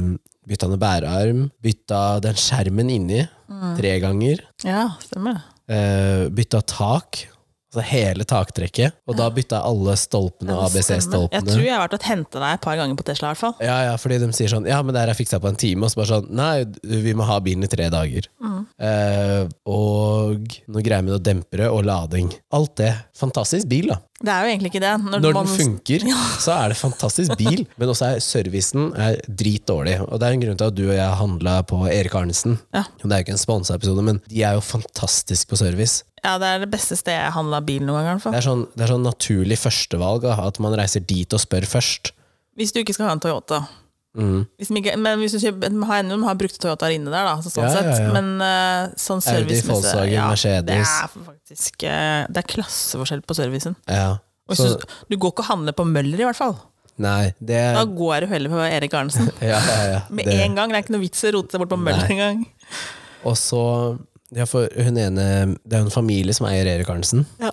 B: bytta noen bærearm, bytta den skjermen inni
A: Mm.
B: tre ganger,
A: ja, stemmer det.
B: eh, bytta tak, altså hele taktrekket, og da bytta alle stolpene,
A: Stemmer. Jeg tror
B: ABC-stolpene.
A: jeg har vært og henta deg et par ganger på Tesla, i hvert fall.
B: Ja, ja, fordi de sier sånn, ja, men det her er fiksa på en time, og så bare sånn, nei, vi må ha bilen i tre dager.
A: Mm.
B: Eh, og noe greier med noe dempere og lading. Alt det. Fantastisk bil, da.
A: Det er jo egentlig ikke det. Når,
B: Når
A: man-
B: den funker, så er det fantastisk bil, men også er servicen er dritdårlig. Og det er en grunn til at du og jeg handla på Erik Arnesen.
A: Ja.
B: Og Det er jo ikke en sponsa episode, men de er jo fantastiske på service.
A: Ja, det er det beste stedet jeg handla bil noen gang, i hvert fall.
B: Det er sånn, det er sånn naturlig førstevalg da, at man reiser dit og spør først. Mm.
A: Hvis du ikke skal ha en Toyota. Hvis de ikke, men hvis du kjøper, de har ennå de har brukte Toyotaer inne der, da, så sånn
B: Ja, ja, ja.
A: sett. Men eh, sånn
B: Audi,
A: servicemessig
B: Volkswagen,
A: Det
B: Mercedes.
A: er faktisk eh, Det er klasseforskjell på servicen.
B: Ja.
A: Og
B: Så,
A: hvis du, du går ikke og handler på Møller, i hvert fall.
B: Nei, det
A: Da går du heller på Erik Arnesen.
B: ja, ja, ja,
A: Med
B: det-
A: en gang. Det er ikke noe vits i å rote seg bort på
B: Nei.
A: møller engang.
B: Og så ja, for hun ene, Det er jo en familie som eier Erik Arnesen.
A: Ja.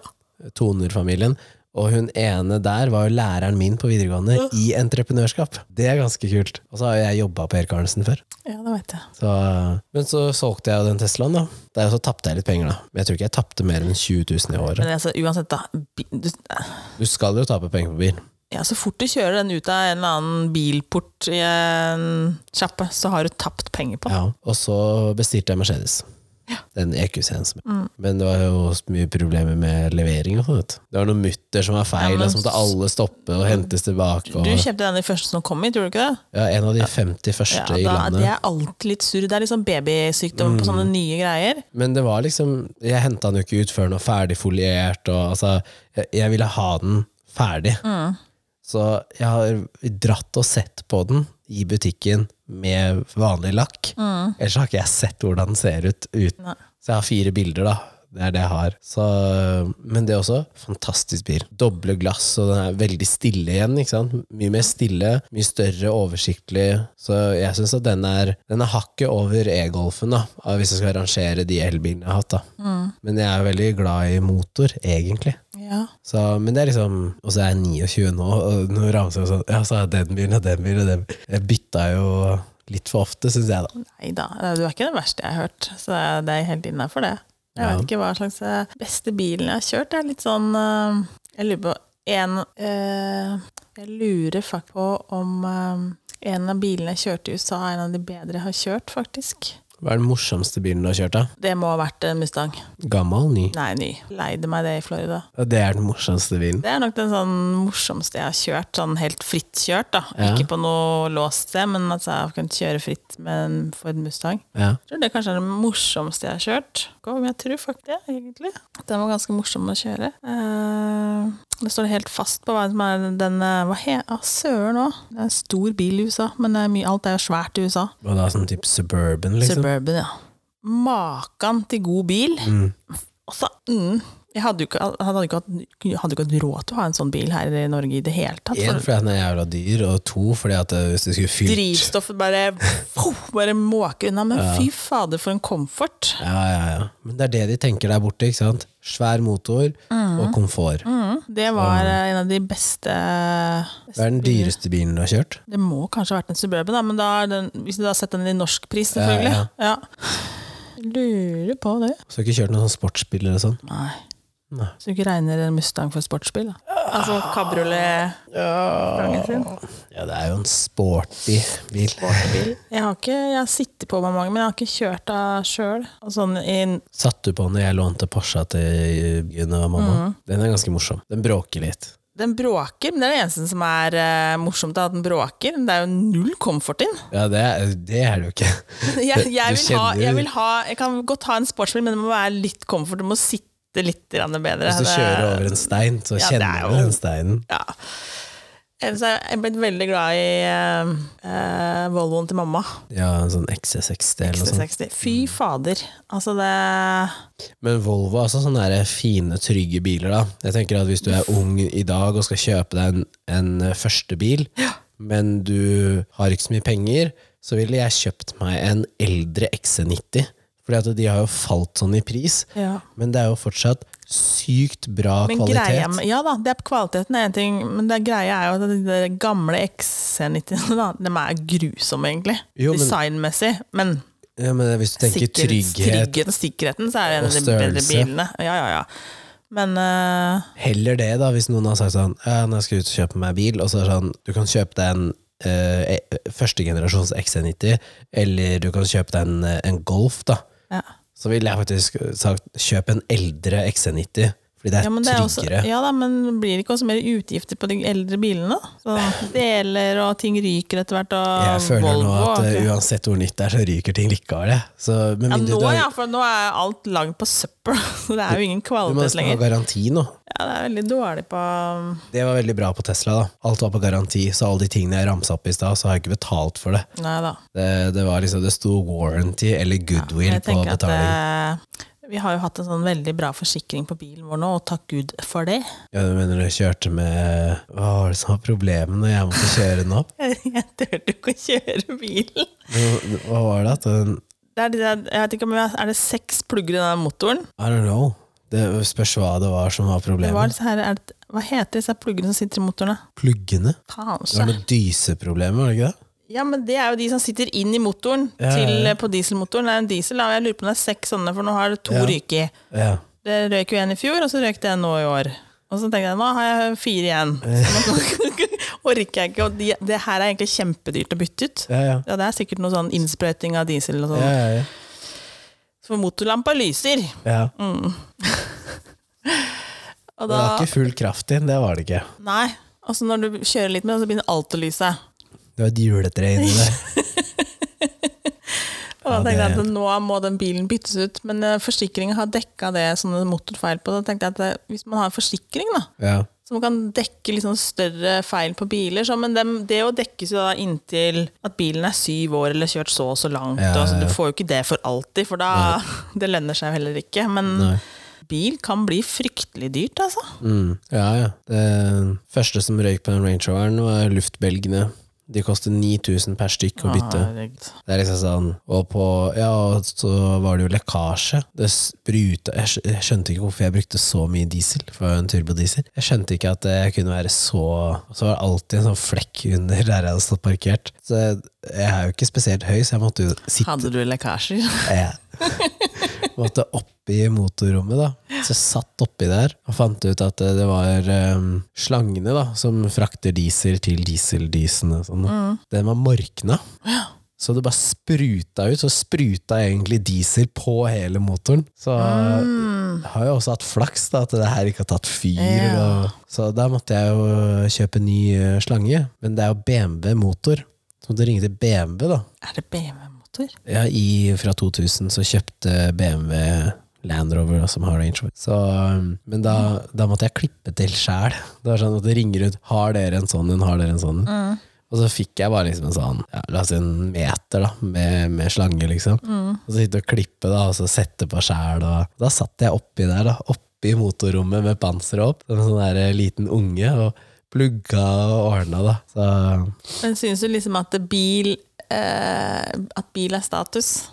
B: Toner-familien. Og hun ene der var jo læreren min på videregående i entreprenørskap. Det er ganske kult. Og så har jo jeg jobba på Erik Arnesen før.
A: ja, det vet jeg.
B: Så, men så solgte jeg jo den Teslaen, da. Der så tapte jeg litt penger, da. Men jeg tror ikke jeg tapte mer enn 20 000 i året.
A: Men altså, uansett, da. bi- Du,
B: Du skal jo tape penger på bil.
A: ja, så fort du kjører den ut av en eller annen bilport i en sjappe, så har du tapt penger på den.
B: Ja. Og så bestilte jeg Mercedes. Den EQC-en. som-
A: Mm.
B: Men det var jo også mye problemer med levering. og sånt. vet du. Det var noen mutter som var feil,
A: Ja, men
B: og så måtte alle stoppe og hentes tilbake. Og,
A: Du kjøpte den i første som kom hit, gjorde du ikke det?
B: ja, en av de 50 første
A: Ja,
B: i
A: da,
B: landet. Mm.
A: det er alltid litt surr. Det er liksom babysykdom på sånne nye greier.
B: Men det var liksom Jeg henta den jo ikke ut før den var ferdig foliert. Og, altså, jeg, jeg ville ha den ferdig. Så jeg har dratt og sett på den i butikken med vanlig lakk. Ellers har ikke jeg sett hvordan den ser ut. ut.
A: Nei.
B: Så jeg har fire bilder, da. Det er det jeg har. Så, men det er også fantastisk bil. Doble glass, og den er veldig stille igjen. ikke sant? Mye mer stille, mye større, oversiktlig. Så jeg syns at den er, den er hakket over e-golfen, da, av hvis jeg skal rangere de elbilene jeg har hatt. da. Men jeg er veldig glad i motor, egentlig.
A: Ja.
B: Så, men det er liksom Og så er jeg 29 nå, og nå ramser jeg sånn Ja, så har jeg den bilen og den bilen og den bilen. Jeg bytta jo litt for ofte, syns jeg, da.
A: Nei da, Eh, du er ikke den verste jeg har hørt, så det er helt innafor det. Jeg
B: Ja.
A: vet ikke hva slags eh, beste bilen jeg har kjørt. Det er litt sånn eh, Jeg lurer på en eh, Jeg lurer faktisk på om eh, en av bilene jeg kjørte i USA, er en av de bedre jeg har kjørt, faktisk.
B: Hva er den morsomste bilen du har kjørt, da?
A: Det må ha vært en Mustang.
B: Gammel, ny?
A: Nei, ny. Leide meg det i Florida.
B: Ja, Det er den morsomste bilen.
A: Det er nok den sånn morsomste jeg har kjørt, sånn helt fritt kjørt. da.
B: Ja.
A: Ikke på noe låst sted, men at jeg har kunnet kjøre fritt med en Ford Mustang.
B: Ja.
A: Jeg tror det kanskje er det morsomste jeg har kjørt. Kom, jeg tror faktisk det, egentlig. Den var ganske morsom å kjøre. Eh, det står helt fast på hva som er den eh, Hva he... Ah, søren òg! Det er en stor bil i USA, men det er mye, alt er jo svært i USA.
B: Og da sånn type suburban, liksom.
A: Suburban, ja. Makan til god bil. Altså, mm. Jeg hadde jo ikke, hadde jo ikke, hatt, hadde jo ikke hatt råd til å ha en sånn bil her i Norge i det hele tatt.
B: Én
A: For
B: fordi at den er jævla dyr, og to fordi at eh, hvis du skulle fylt
A: drivstoffet bare, bare måker unna. Men fy fader, for en komfort!
B: ja, ja, ja. Men det er det de tenker der borte. ikke sant? Svær motor og komfort.
A: Mm, det var eh, en av de beste
B: Hva er den dyreste bilen du har kjørt?
A: Det må kanskje ha vært en Suburban, da, men da er den, hvis du da har sett den i norsk pris, selvfølgelig.
B: Ja,
A: Ja, Lurer på det.
B: Så du har ikke kjørt noen sånn sportsbil eller sånn?
A: Nei.
B: Nei.
A: Så du ikke regner en Mustang for sportsbil? da? Altså
B: Ah.
A: kabriolet sin?
B: Ja, det er jo en sporty bil. Mm.
A: Jeg har ikke, jeg har sittet på meg mange, men jeg har ikke kjørt av sjøl. Sånn i-
B: Satt du på den når jeg lånte Porscha til eh, Gunn og mamma?
A: Mhm.
B: Den er ganske morsom. Den bråker litt.
A: den bråker, men det er det eneste som er eh, morsomt, da, at den bråker. Det er jo null comfort in.
B: Ja, det, er- det er det jo ikke.
A: Jeg,
B: Du
A: jeg, vil ha,
B: kjenner-
A: jeg, vil ha, jeg kan godt ha en sportsbil, men det må være litt comfort. Du må sitte litt grann bedre.
B: Hvis du
A: Det-
B: kjører over en stein,
A: Ja,
B: så
A: det er
B: kjenner du
A: jo-
B: den steinen.
A: Ja. Ellers Eh, er jeg blitt veldig glad i eh, eh, Volvoen til mamma.
B: Ja, en sånn XC60 eller noe sånt. Mm.
A: 60. Fy fader. Altså, det
B: Men Volvo er også sånne der fine, trygge biler. da. Jeg tenker at Hvis du er ung i dag og skal kjøpe deg en, en eh, første bil, men du har ikke så mye penger, så ville jeg kjøpt meg en eldre XC90. Fordi at de har jo falt sånn i pris,
A: Ja.
B: men det er jo fortsatt sykt bra
A: Men greia
B: kvalitet.
A: med, ja da, det er kvaliteten er en ting, men det greia er jo at de der gamle XC90-ene da, de er grusomme, egentlig.
B: Jo, men-
A: Designmessig. Men
B: Ja, men hvis du tenker
A: sikkerhets-
B: trygghet,
A: trygghet og sikkerheten, så er det en av de
B: og
A: bedre
B: størrelse.
A: bilene. Ja, ja, ja. Men eh,
B: heller det da hvis noen har sagt sånn ja, nå skal jeg ut og kjøpe meg bil, og så er det sånn du kan kjøpe deg en eh, e- førstegenerasjons XC90, eller du kan kjøpe deg en, eh, en Golf, da.
A: ja.
B: Så ville jeg faktisk sagt kjøp en eldre XC90, fordi det er
A: Ja, men det er også,
B: tryggere.
A: ja da, men blir det ikke også mer utgifter på de eldre bilene? da? Så deler og ting ryker etter hvert,
B: jeg
A: og
B: føler
A: Volvo
B: nå at
A: og-
B: eh, uansett hvor nytt det er, så ryker ting likevel. jeg. Så med
A: ja,
B: mindre
A: nå,
B: du, har-
A: ja, for nå er alt lagd på søppel, så det er jo ingen
B: du må
A: kvalitet
B: nesten ha
A: lenger.
B: garanti nå.
A: Ja, det er veldig dårlig på mm,
B: Det var veldig bra på Tesla. da. Alt var på garanti, så alle de tingene jeg ramsa opp i stad, så har jeg ikke betalt for det.
A: Nei da.
B: Det, det var liksom, det sto warranty eller goodwill
A: Jeg
B: på
A: tenker at
B: betaling.
A: eh, Vi har jo hatt en sånn veldig bra forsikring på bilen vår nå, og takk Gud for det.
B: Ja, du mener du kjørte med Hva var det som var problemet når jeg måtte kjøre den opp?
A: Jeg turte ikke å kjøre bilen.
B: Men Hva var det at den
A: Det er, de der, jeg vet ikke om jeg, er det seks plugger i den motoren?
B: I don't know. Det spørs hva det var som var
A: Det var
B: problemet.
A: disse her, er det, hva heter disse pluggene som sitter i motoren? da?
B: Pluggene? Det var
A: Kanskje.
B: noe dyseproblem, var det ikke det?
A: Ja, men det er jo de som sitter inn i motoren,
B: Ja, ja,
A: til, eh,
B: ja.
A: på dieselmotoren. Det er en diesel, da. og Jeg lurer på om det er seks sånne, for nå har det to
B: Ja.
A: ryket i.
B: Ja.
A: Det røyk jo en i fjor, og så røyk det en nå i år. Og så tenkte jeg nå har jeg fire igjen. Så nå orker jeg ikke. Og de, det her er egentlig kjempedyrt å bytte ut.
B: Ja, ja.
A: Ja, Det er sikkert noe sånn innsprøyting av diesel og
B: Ja,
A: sånn.
B: ja, ja.
A: For motorlampa lyser.
B: ja.
A: Og
B: Det
A: da,
B: var ikke full kraft inn, det var det ikke.
A: nei, og så når du kjører litt med den, så begynner alt å lyse.
B: Det var et juletre inni der.
A: Og da
B: Ja,
A: tenkte jeg
B: det-
A: at nå må den bilen byttes ut. Men eh, forsikringen har dekka det sånne motorfeil på. Da tenkte jeg at eh, hvis man har en forsikring, da,
B: Ja.
A: som kan dekke litt sånn større feil på biler. Så, men dem, det jo dekkes jo da inntil at bilen er syv år eller kjørt så og så langt.
B: Ja,
A: og så
B: ja, ja.
A: du får jo ikke det for alltid, for da det lønner seg jo heller ikke. Men
B: Nei.
A: bil kan bli fryktelig dyrt, altså.
B: Mm. Ja, ja. Det første som røyk på den Range Roveren, var luftbelgene. De koster 9000 per stykk å bytte.
A: Herregud.
B: Det er liksom sånn Og på Ja, og så var det jo lekkasje. Det spruta jeg, skj- jeg skjønte ikke hvorfor jeg brukte så mye diesel. For en turbodiesel. Jeg skjønte ikke at jeg kunne være så Så var det alltid en sånn flekk under der jeg hadde stått parkert. Så jeg, jeg er jo ikke spesielt høy, så jeg måtte jo sitte
A: Hadde du lekkasjer?
B: jeg måtte oppi motorrommet, da. Så jeg satt oppi der og fant ut at det var em, slangene da, som frakter diesel til dieseldisene. Sånn, da. Den var morkna. Så det bare spruta ut. Så spruta egentlig diesel på hele motoren. Så eh, har jeg også hatt flaks da, at det her ikke har tatt fyr.
A: Ja.
B: Og, så da måtte jeg jo kjøpe ny eh, slange. Men det er jo BMW-motor. Så måtte jeg ringe til BMW, da.
A: Er det BMW-motor?
B: Ja, i, fra 2000 så kjøpte BMW Land Rover da, som har Range Rover. Så, um, men da, da måtte jeg klippe til sjæl. Det var sånn at det ringer ut 'Har dere en sånn en? Har dere en sånn en?' Og så fikk jeg bare liksom en sånn ja, La oss si en meter da med, med slange, liksom. Og så sitte og klippe da, og så sette på sjæl. og- Da satt jeg oppi der, da. Oppi motorrommet med panseret opp, som en sånn der eh, liten unge. og Plugga og ordna, da. Så
A: Men syns du liksom at bil eh, At bil er status?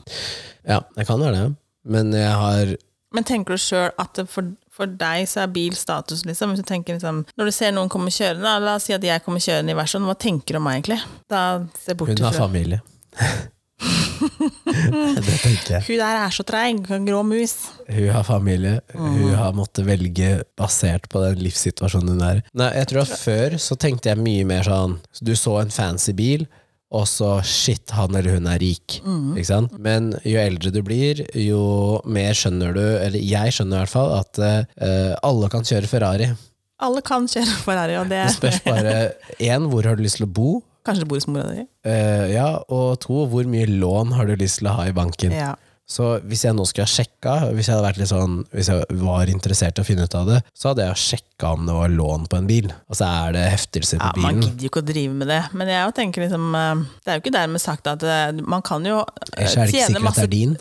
B: ja, det kan være det. Men jeg har
A: Men tenker du sjøl at det for, for deg så er bil status, liksom? Hvis du tenker liksom Når du ser noen komme kjørende, da, la oss si at jeg kommer kjørende i versjon, hva tenker du om meg egentlig? Da ser jeg bort
B: Hun har
A: ifra.
B: familie. det tenker jeg.
A: Hun der er så treig, hun grå mus.
B: Hun har familie. Hun har måttet velge basert på den livssituasjonen hun er i. Nei, jeg tror at Før så tenkte jeg mye mer sånn så Du så en fancy bil, og så shit, han eller hun er rik. Ikke sant? Men jo eldre du blir, jo mer skjønner du, eller jeg skjønner i hvert fall, at eh, alle kan kjøre Ferrari.
A: Alle kan kjøre Ferrari, og det
B: Det spørs bare én, hvor har du lyst til å bo?
A: Kanskje det bor hos mora di?
B: Eh, ja, og to, hvor mye lån har du lyst til å ha i banken?
A: Ja.
B: Så hvis jeg nå skulle ha sjekka, hvis jeg hadde vært litt sånn Hvis jeg var interessert i å finne ut av det, så hadde jeg sjekka om det var lån på en bil. Altså er det heftelser på
A: Ja, man
B: bilen?
A: gidder jo ikke å drive med det, men jeg jo tenker liksom eh, Det er jo ikke dermed sagt at eh, man kan jo eh,
B: Ellers er det ikke
A: tjene
B: sikkert at det
A: masse
B: er din.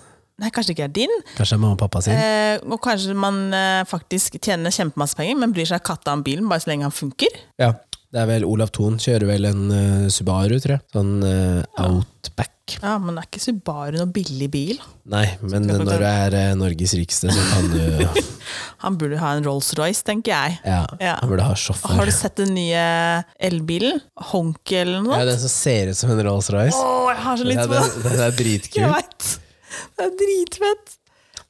A: Nei, kanskje det ikke er din,
B: Kanskje det er mamma og pappa sin.
A: eh, og kanskje man eh, faktisk tjener kjempemasse penger, men bryr seg katta om bilen bare så lenge han funker.
B: Ja. Det er vel Olav Thon kjører vel en eh, Subaru, tror jeg. Sånn eh, Outback.
A: Ja, men det er ikke Subaru noe billig bil.
B: Nei, men
A: jeg få
B: når du er eh, Norges rikeste, så kan du
A: Han burde ha en Rolls-Royce, tenker jeg.
B: Ja,
A: Ja.
B: han burde ha
A: Har
B: sjåfør.
A: du sett den nye elbilen? Honky eller noe?
B: Ja,
A: sånt?
B: den som ser ut som en Rolls-Royce.
A: Å, sånn. jeg har så lyst
B: Ja,
A: på
B: den,
A: den!
B: den er
A: Jeg
B: dritkul.
A: vet. Det er dritfett!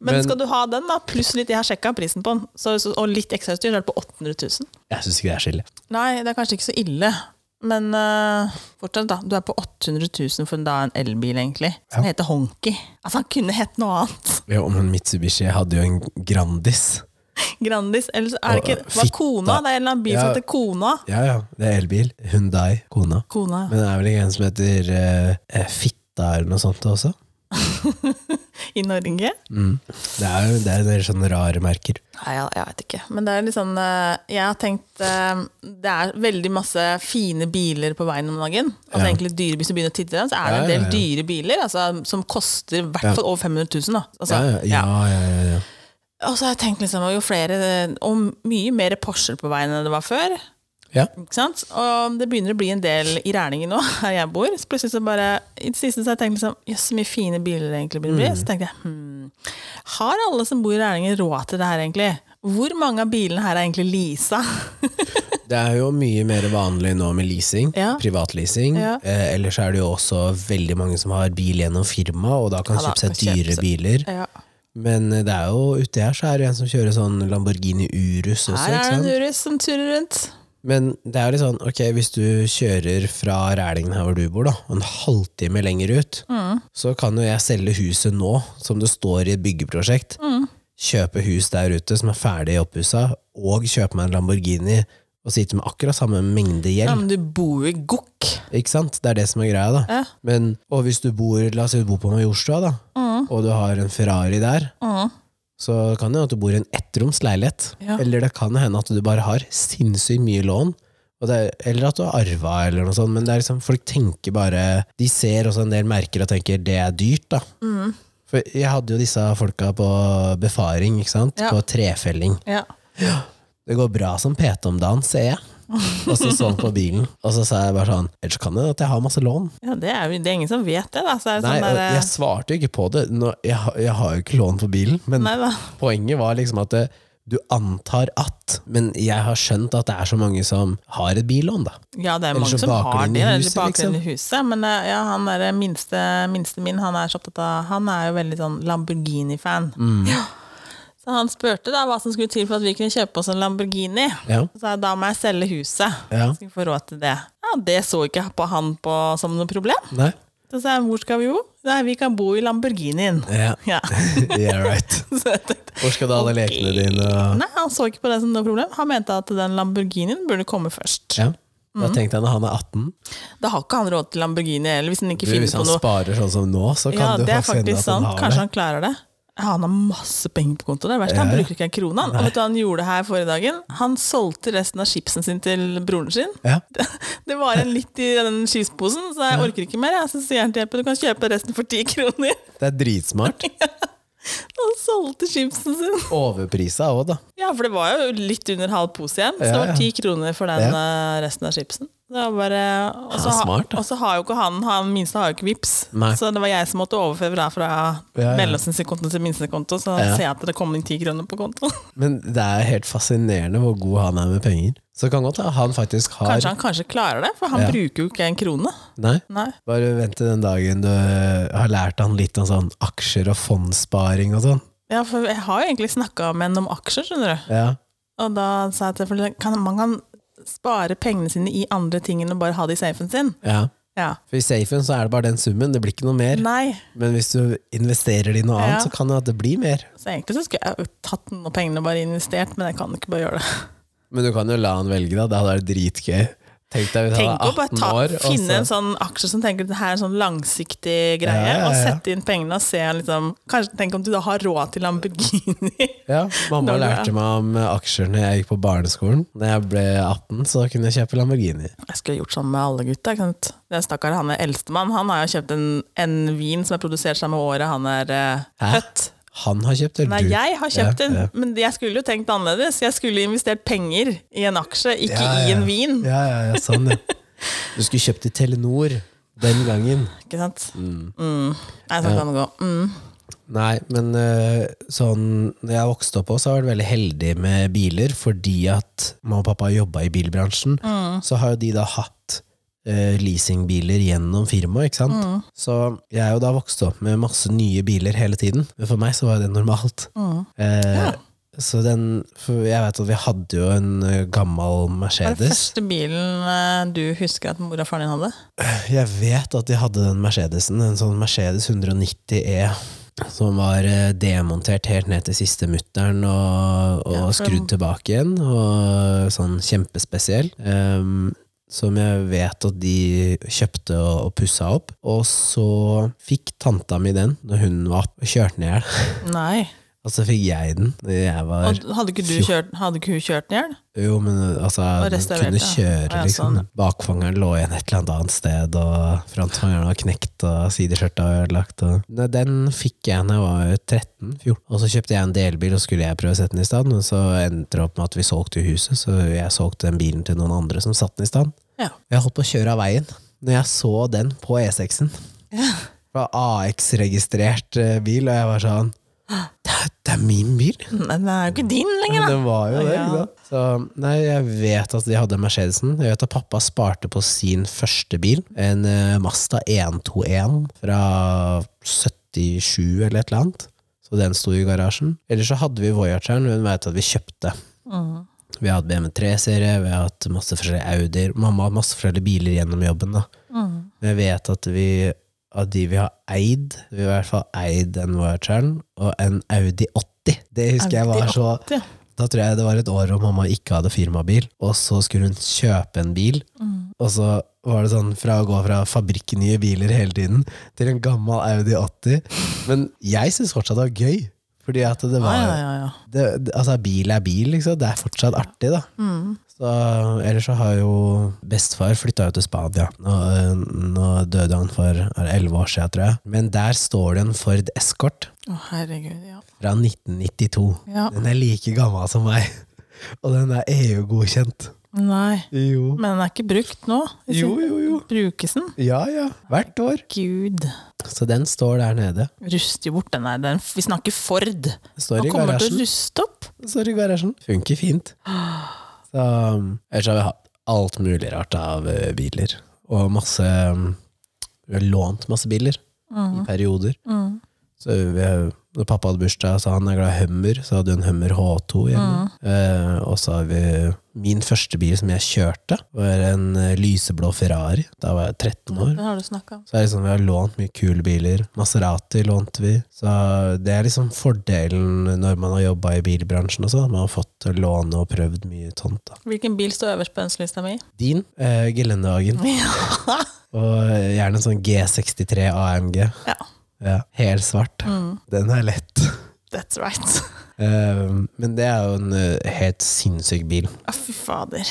A: Men,
B: Men-
A: skal du ha den, da, pluss litt Jeg har sjekka prisen på den, så, så, og litt ekstrautstyr, så er det på 800 000.
B: Jeg syns ikke det er skille.
A: Nei, det er kanskje ikke så ille, men eh, fortsatt, da. Du er på 800 000 for en, da, en elbil, egentlig, som heter Honky. Altså, han kunne hett noe annet!
B: Jo, men Mitsubishi hadde jo en Grandis.
A: Grandis. Eller så er det
B: Og,
A: ikke
B: fitta.
A: Var Kona? Det er en eller annen bil som
B: Ja.
A: heter Kona.
B: Ja, ja. Det er elbil. Hyundai, kona.
A: Kona, ja.
B: Men det er vel ikke en som heter eh, eh, Fitta eller noe sånt også?
A: i Norge.
B: Mm. Det er jo det er en del sånne rare merker.
A: Nei, jeg, jeg vet ikke. Men det er litt sånn eh, Jeg har tenkt eh, Det er veldig masse fine biler på veien om dagen. Altså
B: Ja.
A: egentlig dyre Hvis du begynner å titte der, så er det
B: Ja,
A: en del
B: ja, ja.
A: dyre biler altså, som koster i hvert fall over 500 000. Da. Altså,
B: Ja, ja, ja. ja, ja, ja.
A: Og så har jeg tenkt liksom, jo flere Og mye mer Porscher på veien enn det var før.
B: Ja.
A: Ikke sant? Og det begynner å bli en del i Rælingen nå, her jeg bor. Så plutselig så bare I det siste så har jeg tenkt liksom Jøss, så mye fine biler det egentlig begynner å bli.
B: Mm.
A: Så tenkte jeg hm, Har alle som bor i Rælingen råd til det her, egentlig? Hvor mange av bilene her er egentlig leasa?
B: Det er jo mye mer vanlig nå med leasing,
A: Ja.
B: privatleasing.
A: Ja.
B: Eh, ellers er det jo også veldig mange som har bil gjennom firma, og da kan
A: Ja, da,
B: kjøpe seg
A: kjøpe
B: dyre
A: seg-
B: biler.
A: ja.
B: Men eh, det er jo uti her så er det jo en som kjører sånn Lamborghini Urus også,
A: Her er
B: ikke
A: det en
B: sant?
A: Urus som turer rundt.
B: Men det er jo litt sånn, ok, hvis du kjører fra Rælingen her hvor du bor, da, og en halvtime lenger ut,
A: Mm.
B: så kan jo jeg selge huset nå, som det står i et byggeprosjekt,
A: Mm.
B: kjøpe hus der ute som er ferdig oppussa, og kjøpe meg en Lamborghini, og sitte med akkurat samme mengde gjeld.
A: Ja, men du bor jo i gokk.
B: Ikke sant? Det er det som er greia, da.
A: Ja.
B: Men, og hvis du bor, la oss si du bor på Majorstua, da, og du har en Ferrari der,
A: Mm.
B: så kan det hende at du bor i en ettroms leilighet.
A: Ja.
B: Eller det kan hende at du bare har sinnssykt mye lån. Og det, er- eller at du har arva, eller noe sånt. Men det er liksom, folk tenker bare De ser også en del merker og tenker det er dyrt, da.
A: Mm.
B: For jeg hadde jo disse folka på befaring, ikke sant?
A: Ja.
B: På trefelling.
A: Ja.
B: Det går bra som PT om dagen, ser jeg. Og så så han på bilen, og så sa jeg bare sånn Ellers kan det at jeg har masse lån.
A: ja, det er jo det er ingen som vet det, da. Så er det
B: Nei,
A: sånn
B: og
A: der,
B: jeg svarte jo ikke på det. Nå, jeg, har- jeg har jo ikke lån på bilen, men
A: Nei da.
B: poenget var liksom at det, du antar at Men jeg har skjønt at det er så mange som har et billån, da.
A: Ja, det er
B: Eller
A: mange
B: så
A: som
B: baker
A: har
B: den i
A: det. Eller
B: huset,
A: baker
B: liksom.
A: den i huset. Men eh, ja, han der minste, minste min, han er så opptatt av Han er jo veldig sånn Lamborghini-fan.
B: Mm.
A: Ja. Så han spurte da hva som skulle til for at vi kunne kjøpe oss en Lamborghini.
B: Ja.
A: Så sa jeg da må jeg selge huset.
B: Ja.
A: Skal vi få råd til det? Ja, det så ikke på han på som noe problem.
B: Nei?
A: Så sa jeg hvor skal vi jo? Nei, vi kan bo i Lamborghinien.
B: Ja.
A: Ja.
B: yeah, right.
A: Så jeg tenkte,
B: Hvor skal du ha alle
A: Ok.
B: lekene dine? Og,
A: Nei, han så ikke på det som noe problem. Han mente at den Lamborghinien burde komme først.
B: ja. Da
A: Mm.
B: tenkte jeg når han er 18
A: Da har ikke han råd til Lamborghini, eller hvis han ikke
B: du,
A: finner
B: Hvis
A: på
B: han
A: noe
B: sparer sånn som nå, så kan
A: Ja,
B: du
A: det er
B: faktisk hende
A: faktisk
B: at han
A: sant.
B: har
A: Kanskje
B: det.
A: han klarer det. Ja, Han har masse penger på konto. Det er verst, Han
B: Ja, ja.
A: bruker ikke en krone. han. Og vet du hva han gjorde her forrige dagen? Han solgte resten av chipsen sin til broren sin.
B: Ja.
A: Det var en litt i den chipsposen, så jeg orker ikke mer. jeg. Så sier han til Jeppe du kan kjøpe resten for ti kroner.
B: Det er dritsmart.
A: Han solgte chipsen sin.
B: Overprisa òg, da.
A: Ja, for det var jo litt under halv pose igjen, så
B: Ja,
A: det var
B: ja.
A: ti kroner for den
B: Ja.
A: eh, resten av chipsen. Det var bare, og så
B: Han er
A: ha-
B: smart, da.
A: og så har jo ikke han, han minste har jo ikke vips,
B: Nei.
A: så det var jeg som måtte overføre da fra
B: Ja, ja.
A: mellomstidskonto til minstekonto, så
B: Ja.
A: ser jeg at det kom inn ti kroner på kontoen.
B: Men det er helt fascinerende hvor god han er med penger. Så det kan godt at han faktisk har
A: Kanskje han kanskje klarer det, for han
B: Ja.
A: bruker jo ikke en krone.
B: Nei,
A: Nei.
B: bare vent til den dagen du eh, har lært han litt om sånn aksjer og fondssparing og sånn.
A: Ja, for jeg har jo egentlig snakka med henne om aksjer, skjønner du.
B: Ja.
A: Og da sa jeg til henne at man kan spare pengene sine i andre ting enn å bare ha det i safen sin.
B: ja.
A: Ja.
B: For i safen så er det bare den summen, det blir ikke noe mer.
A: Nei.
B: Men hvis du investerer det i noe
A: Ja.
B: annet, så kan det at det blir mer.
A: Så egentlig så skulle jeg jo tatt noen av pengene og bare investert, men jeg kan ikke bare gjøre det.
B: Men du kan jo la han velge, da. Det hadde vært dritgøy. Tenk deg hvis han
A: Tenk å
B: er
A: bare
B: 18
A: ta,
B: år, og
A: finne
B: så
A: en sånn aksje som tenker at det her er en sånn langsiktig greie,
B: Ja, ja,
A: og
B: ja.
A: sette inn pengene og se liksom Kanskje tenk om du da har råd til Lamborghini.
B: ja, Mamma
A: Når du er-
B: lærte meg om aksjer når jeg gikk på barneskolen. Når jeg ble 18, så kunne jeg kjøpe Lamborghini.
A: Jeg skulle gjort sånn med alle gutta. ikke sant? Den stakkar han er eldstemann, han har jo kjøpt en, en vin som er produsert samme året han er eh,
B: Hæ?
A: født.
B: Han har kjøpt, eller
A: Nei,
B: du?
A: jeg har kjøpt
B: Ja,
A: en,
B: ja.
A: men jeg skulle jo tenkt annerledes. Jeg skulle investert penger i en aksje, ikke
B: Ja, ja.
A: i en vin.
B: Ja, ja, ja, sånn, ja. Du skulle kjøpt i Telenor den gangen.
A: Ikke sant? Mm. Nei, sånn kan det gå. Mm.
B: Nei, men eh, sånn Når jeg vokste opp også, så har jeg vært veldig heldig med biler, fordi at mamma og pappa jobba i bilbransjen. Så har jo de da hatt eh, leasingbiler gjennom firmaet, ikke sant? Så jeg er jo da vokst opp med masse nye biler hele tiden, men for meg så var jo det normalt. Eh, Så den For jeg vet at vi hadde jo en eh, gammel
A: Hva er den
B: Mercedes.
A: første bilen eh, du husker at mor og faren din hadde?
B: Jeg vet at de hadde den Mercedesen, en sånn Mercedes 190 E, som var eh, demontert helt ned til siste mutteren og, og
A: Ja, for-
B: skrudd tilbake igjen, og sånn kjempespesiell. Ehm, som jeg vet at de kjøpte og, og pussa opp. Og så fikk tanta mi den når hun var opp, og kjørte den i hjel.
A: Nei.
B: Og så fikk jeg den når jeg var
A: Og hadde ikke, du
B: fjor-
A: kjørt, hadde ikke hun kjørt den i hjel?
B: Jo, men altså,
A: Og
B: den
A: restaurert,
B: kunne
A: ja.
B: kjøre,
A: Ah, ja,
B: liksom.
A: sånn.
B: Bakfangeren lå igjen et eller annet annet sted, og frontfangeren var knekt, og sideskjørtet var ødelagt. Og... Nei, den fikk jeg da jeg var 13-14, og så kjøpte jeg en delbil, og skulle jeg prøve å sette den i stand, og så endte det opp med at vi solgte huset, så jeg solgte den bilen til noen andre som satte den i stand.
A: Ja.
B: Jeg holdt på å kjøre av veien, når jeg så den på E6-en. Det var AX-registrert eh, bil, og jeg var sånn, det er, det er min bil!
A: Nei, den er jo ikke din lenger,
B: Men
A: da!
B: den var jo det,
A: Ja.
B: ikke sant? Så, nei, jeg vet at de hadde Mercedesen. Jeg vet at pappa sparte på sin første bil, en eh, Mazda 121 fra 77 eller et eller annet. Så den sto i garasjen. Ellers så hadde vi Voyageren, men hun vet at vi kjøpte.
A: Mhm.
B: Vi har hatt BMW 3-serie, vi har hatt masse forskjellige Audier. Mamma har hatt masse forskjellige biler gjennom jobben. da.
A: Mhm.
B: Men jeg vet at vi av de vi har eid, vi har i hvert fall eid en Voyageren og en Audi 80. Det husker jeg var
A: Audi
B: så
A: 80, ja.
B: Da tror jeg det var et år hvor mamma ikke hadde firmabil, og så skulle hun kjøpe en bil.
A: Mm.
B: Og så var det sånn fra å gå fra fabrikknye biler hele tiden til en gammel Audi 80. Men jeg syns fortsatt det var gøy. Fordi at det var
A: Ja, ja, ja, ja.
B: det, det- altså, bil er bil, liksom. Det er fortsatt artig, da.
A: Mm.
B: Så, ellers så har jo bestefar flytta jo til Spania. Nå, øh, nå døde han for er det 11 år siden, tror jeg. Men der står det en Ford Escort
A: Å, herregud, ja.
B: fra 1992.
A: Ja.
B: Den er like gammel som meg. Og den er E EU-godkjent.
A: Nei.
B: Jo.
A: Men den er ikke brukt nå? i
B: Jo,
A: sin-
B: jo, jo.
A: Brukes den?
B: Ja, ja. Hvert år.
A: Gud.
B: Så den står der nede.
A: Ruster jo bort den der. Den, vi snakker Ford.
B: Den står
A: Han
B: i
A: kommer til å
B: garasjen.
A: ruste opp.
B: Står i garasjen. Funker fint. Så, um, ellers har vi hatt alt mulig rart av eh, biler. Og masse um, Vi har lånt masse biler i perioder. Så vi, har- når pappa hadde bursdag, så han er glad i Hummer, så hadde vi en Hummer H2 hjemme. Eh, og så har vi min første bil som jeg kjørte, var en eh, lyseblå Ferrari. Da var jeg 13 år.
A: Den har du snakka om.
B: Så er det liksom, Vi har lånt mye kule biler. Maserati lånte vi. Så Det er liksom fordelen når man har jobba i bilbransjen. Også. Man har fått låne og prøvd mye sånt. da.
A: Hvilken bil står øverst på ønskelista mi?
B: Din eh, Geländewagen.
A: Ja.
B: Og gjerne en sånn G63 AMG.
A: ja.
B: Ja, Helt svart.
A: Mm.
B: Den er lett.
A: That's right.
B: Eh, men det er jo en eh, helt sinnssyk bil.
A: Å, fy fader.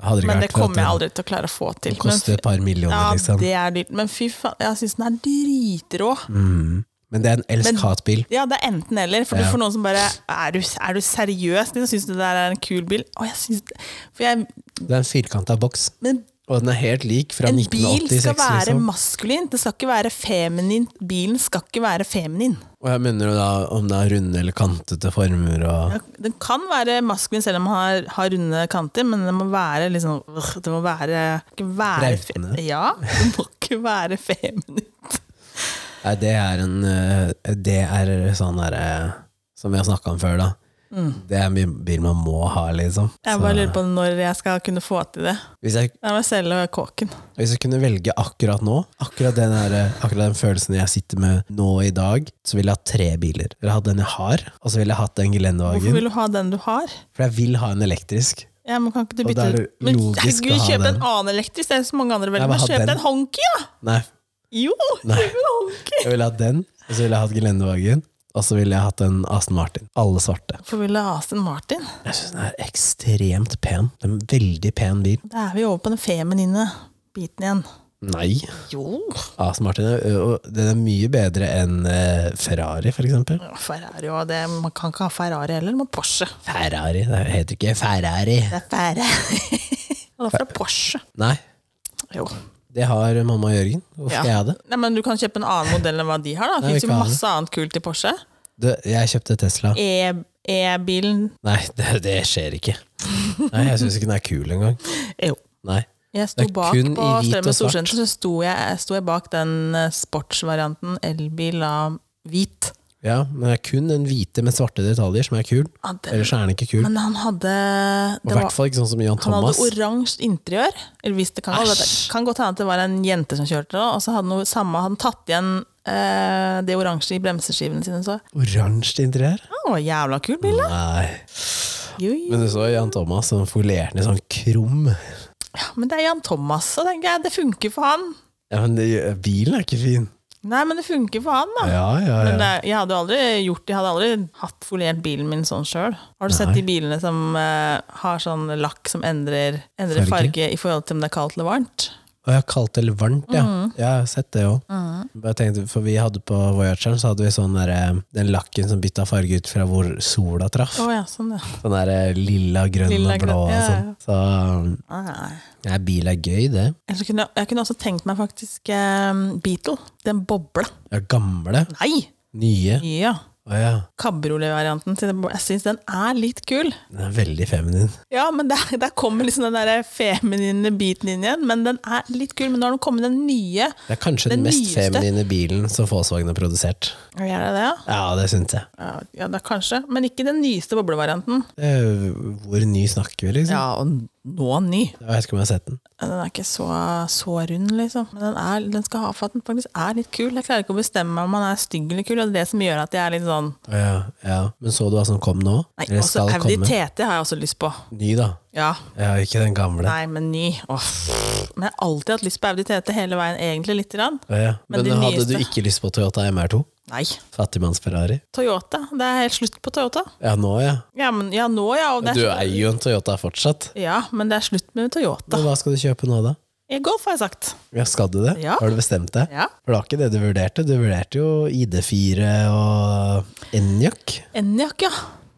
B: Hadde ikke
A: Men
B: vært
A: det
B: for at
A: kommer jeg
B: den
A: aldri til å klare å få til. Men
B: Koster et par millioner,
A: Ja,
B: liksom.
A: det er dyrt. Men fy faen, jeg syns den er dritrå.
B: Mm. Men det er en
A: Men-
B: elsk-hat-bil.
A: Ja, det er enten-eller. For
B: Ja.
A: for noen som bare Er du, er du seriøs? De syns det der er en kul bil. Å, jeg synes, for jeg,
B: Det er en firkanta boks.
A: men
B: Og den er helt lik fra
A: en bil
B: 1986.
A: skal være
B: liksom.
A: maskulin. Det skal ikke være feminin. Bilen skal ikke være feminin.
B: Og jeg mener jo da om det er runde eller kantete former og
A: Den kan være maskulin selv om den har, har runde kanter, men den må være liksom øh, Det må være, ikke være fe-
B: Brautende.
A: Ja, det må ikke være feminint.
B: Nei, det er en eh, Det er sånn derre Som vi har snakka om før, da.
A: Mm.
B: Det er en bil man må ha, liksom.
A: Jeg bare lurer på når jeg skal kunne få til det.
B: Hvis jeg,
A: Jeg må selge kåken.
B: hvis jeg kunne velge akkurat nå, akkurat den, der, eh, akkurat den følelsen jeg sitter med nå i dag, så ville jeg hatt tre biler. Jeg ville hatt den jeg har, og så ville jeg hatt den
A: Hvorfor
B: Geländewagen.
A: vil du ha den du har?
B: For jeg vil ha en elektrisk.
A: Ja, men kan ikke du
B: Og
A: bytte
B: da er det
A: ut? Men
B: logisk
A: herregud,
B: å ha
A: kjøp en
B: den.
A: annen elektrisk, det er så mange andre
B: Nei,
A: velger.
B: men
A: Men
B: ha
A: kjøp
B: den.
A: deg en honky, da!
B: Nei,
A: Jo,
B: Nei.
A: kjøp en honky!
B: jeg ville hatt den, og så ville jeg hatt Geländewagen, og så ville jeg hatt en Aston Martin. Alle svarte.
A: Hvorfor vil du ha Aston Martin?
B: Jeg synes den er ekstremt pen. Det er en veldig pen bil.
A: Da er vi over på den feminine biten igjen.
B: Nei.
A: Jo,
B: Aston Martin er, og den er mye bedre enn eh, Ferrari, for eksempel.
A: Ferrari og det. Man kan ikke ha Ferrari heller, man må Porsche.
B: Ferrari, det heter ikke Ferrari.
A: Det er Ferrari. Han er fra Porsche.
B: Nei,
A: Jo.
B: det har mamma og Jørgen. Hvorfor
A: Ja.
B: skal jeg ha det?
A: Nei, men du kan kjøpe en annen modell enn hva de har. da. Det
B: Nei, vi
A: fins jo
B: kan ha det.
A: masse annet kult i Porsche.
B: Du, jeg kjøpte Tesla.
A: E- E-bilen
B: Nei, det, det skjer ikke. Nei, jeg synes ikke den er kul engang.
A: Jo.
B: Nei.
A: Jeg sto
B: Det er
A: bak
B: kun
A: på
B: i hvit
A: Strømmen
B: og svart.
A: Storsenter, så sto jeg, sto jeg bak den eh, sportsvarianten elbil av hvit.
B: Ja, men det er kun den hvite med svarte detaljer som er kul.
A: Ja, den-
B: Ellers er den ikke kul.
A: Men han hadde
B: I
A: det
B: hvert
A: var,
B: fall ikke sånn som Jan
A: Han hadde
B: Thomas.
A: oransje interiør. Eller hvis det kan, gå- det
B: Æsj.
A: kan godt hende at det var en jente som kjørte det, og så hadde han samme, hadde han tatt igjen eh, det oransje i bremseskivene sine. Så
B: Oransje interiør?
A: han var jævla kul bil, da!
B: Nei.
A: Jo, jo.
B: Mm. Men du så Jan Thomas som folerte den i sånn krum.
A: Ja, men det er Jan Thomas, så tenker jeg. Det funker for han.
B: Ja, men det, bilen er ikke fin.
A: Nei, men det funker for han, da.
B: Ja, ja,
A: Men
B: ja.
A: det, jeg hadde jo aldri gjort Jeg hadde aldri hatt foliert bilen min sånn sjøl. Har du sett
B: Nei.
A: de bilene som eh, har sånn lakk som endrer, endrer
B: Farge?
A: farge i forhold til om det er kaldt eller varmt?
B: Og jeg har kaldt eller varmt, ja. Ja, jeg har sett det òg. Mm. For vi hadde på Voyageren så hadde vi sånn der, eh, den lakken som bytta farge ut fra hvor sola traff.
A: Å ja, sånn, ja.
B: Sånn der eh, lilla, grønn
A: Lilla,
B: og
A: grønn,
B: blå og
A: ja,
B: sånn. Så
A: Nei.
B: ja, bil er gøy, det.
A: Eller så kunne, jeg kunne også tenkt meg faktisk eh, Beatle. Den bobla.
B: Ja, gamle.
A: Nei!
B: Nye.
A: Ja.
B: Å ja.
A: Kabriolet-varianten til den bobla. Jeg syns den er litt kul.
B: Den er veldig feminin.
A: Ja, men der, der kommer liksom den der feminine biten inn igjen. Men den er litt kul. Men nå har den kommet den nye.
B: Det er kanskje den,
A: Den
B: mest
A: nyeste.
B: feminine bilen som Volkswagen har produsert.
A: Er det det, ja?
B: Ja, det syns jeg.
A: Ja, ja da kanskje. Men ikke den nyeste boblevarianten.
B: Det er jo- Hvor ny snakker vi, liksom?
A: Ja, og nå ny.
B: Jeg vet ikke om jeg har sett den.
A: Den er ikke så, så rund, liksom. Men den, er, den skal ha for at den faktisk er litt kul. Jeg klarer ikke å bestemme meg om man er stygg eller kul. Og det er det som gjør at jeg er litt sånn
B: Å Ja, ja. Men så du hva som kom nå?
A: Nei,
B: Eller
A: også
B: skal
A: Audi
B: komme?
A: TT har jeg også lyst på.
B: Ny, da.
A: Ja.
B: Ja, ikke den gamle.
A: Nei, men ny. Åh. Men jeg har alltid hatt lyst på Audi TT hele veien, egentlig, lite grann.
B: Å Ja.
A: Men
B: Men,
A: de
B: hadde du
A: nyeste.
B: ikke lyst på Toyota MR2?
A: Nei.
B: Fattigmanns-Ferrari?
A: Toyota. Det er helt slutt på Toyota.
B: Ja, nå, ja.
A: Ja, men ja, nå, ja. Og det
B: Du
A: er,
B: eier jo en Toyota fortsatt.
A: ja, men det er slutt med Toyota.
B: Men hva skal du kjøpe nå, da?
A: E-Golf, har jeg sagt.
B: Ja, skal du det?
A: Ja.
B: Har du bestemt deg?
A: Ja.
B: For det var ikke det du vurderte. Du vurderte jo ID4 og Enjak.
A: Enjak, ja.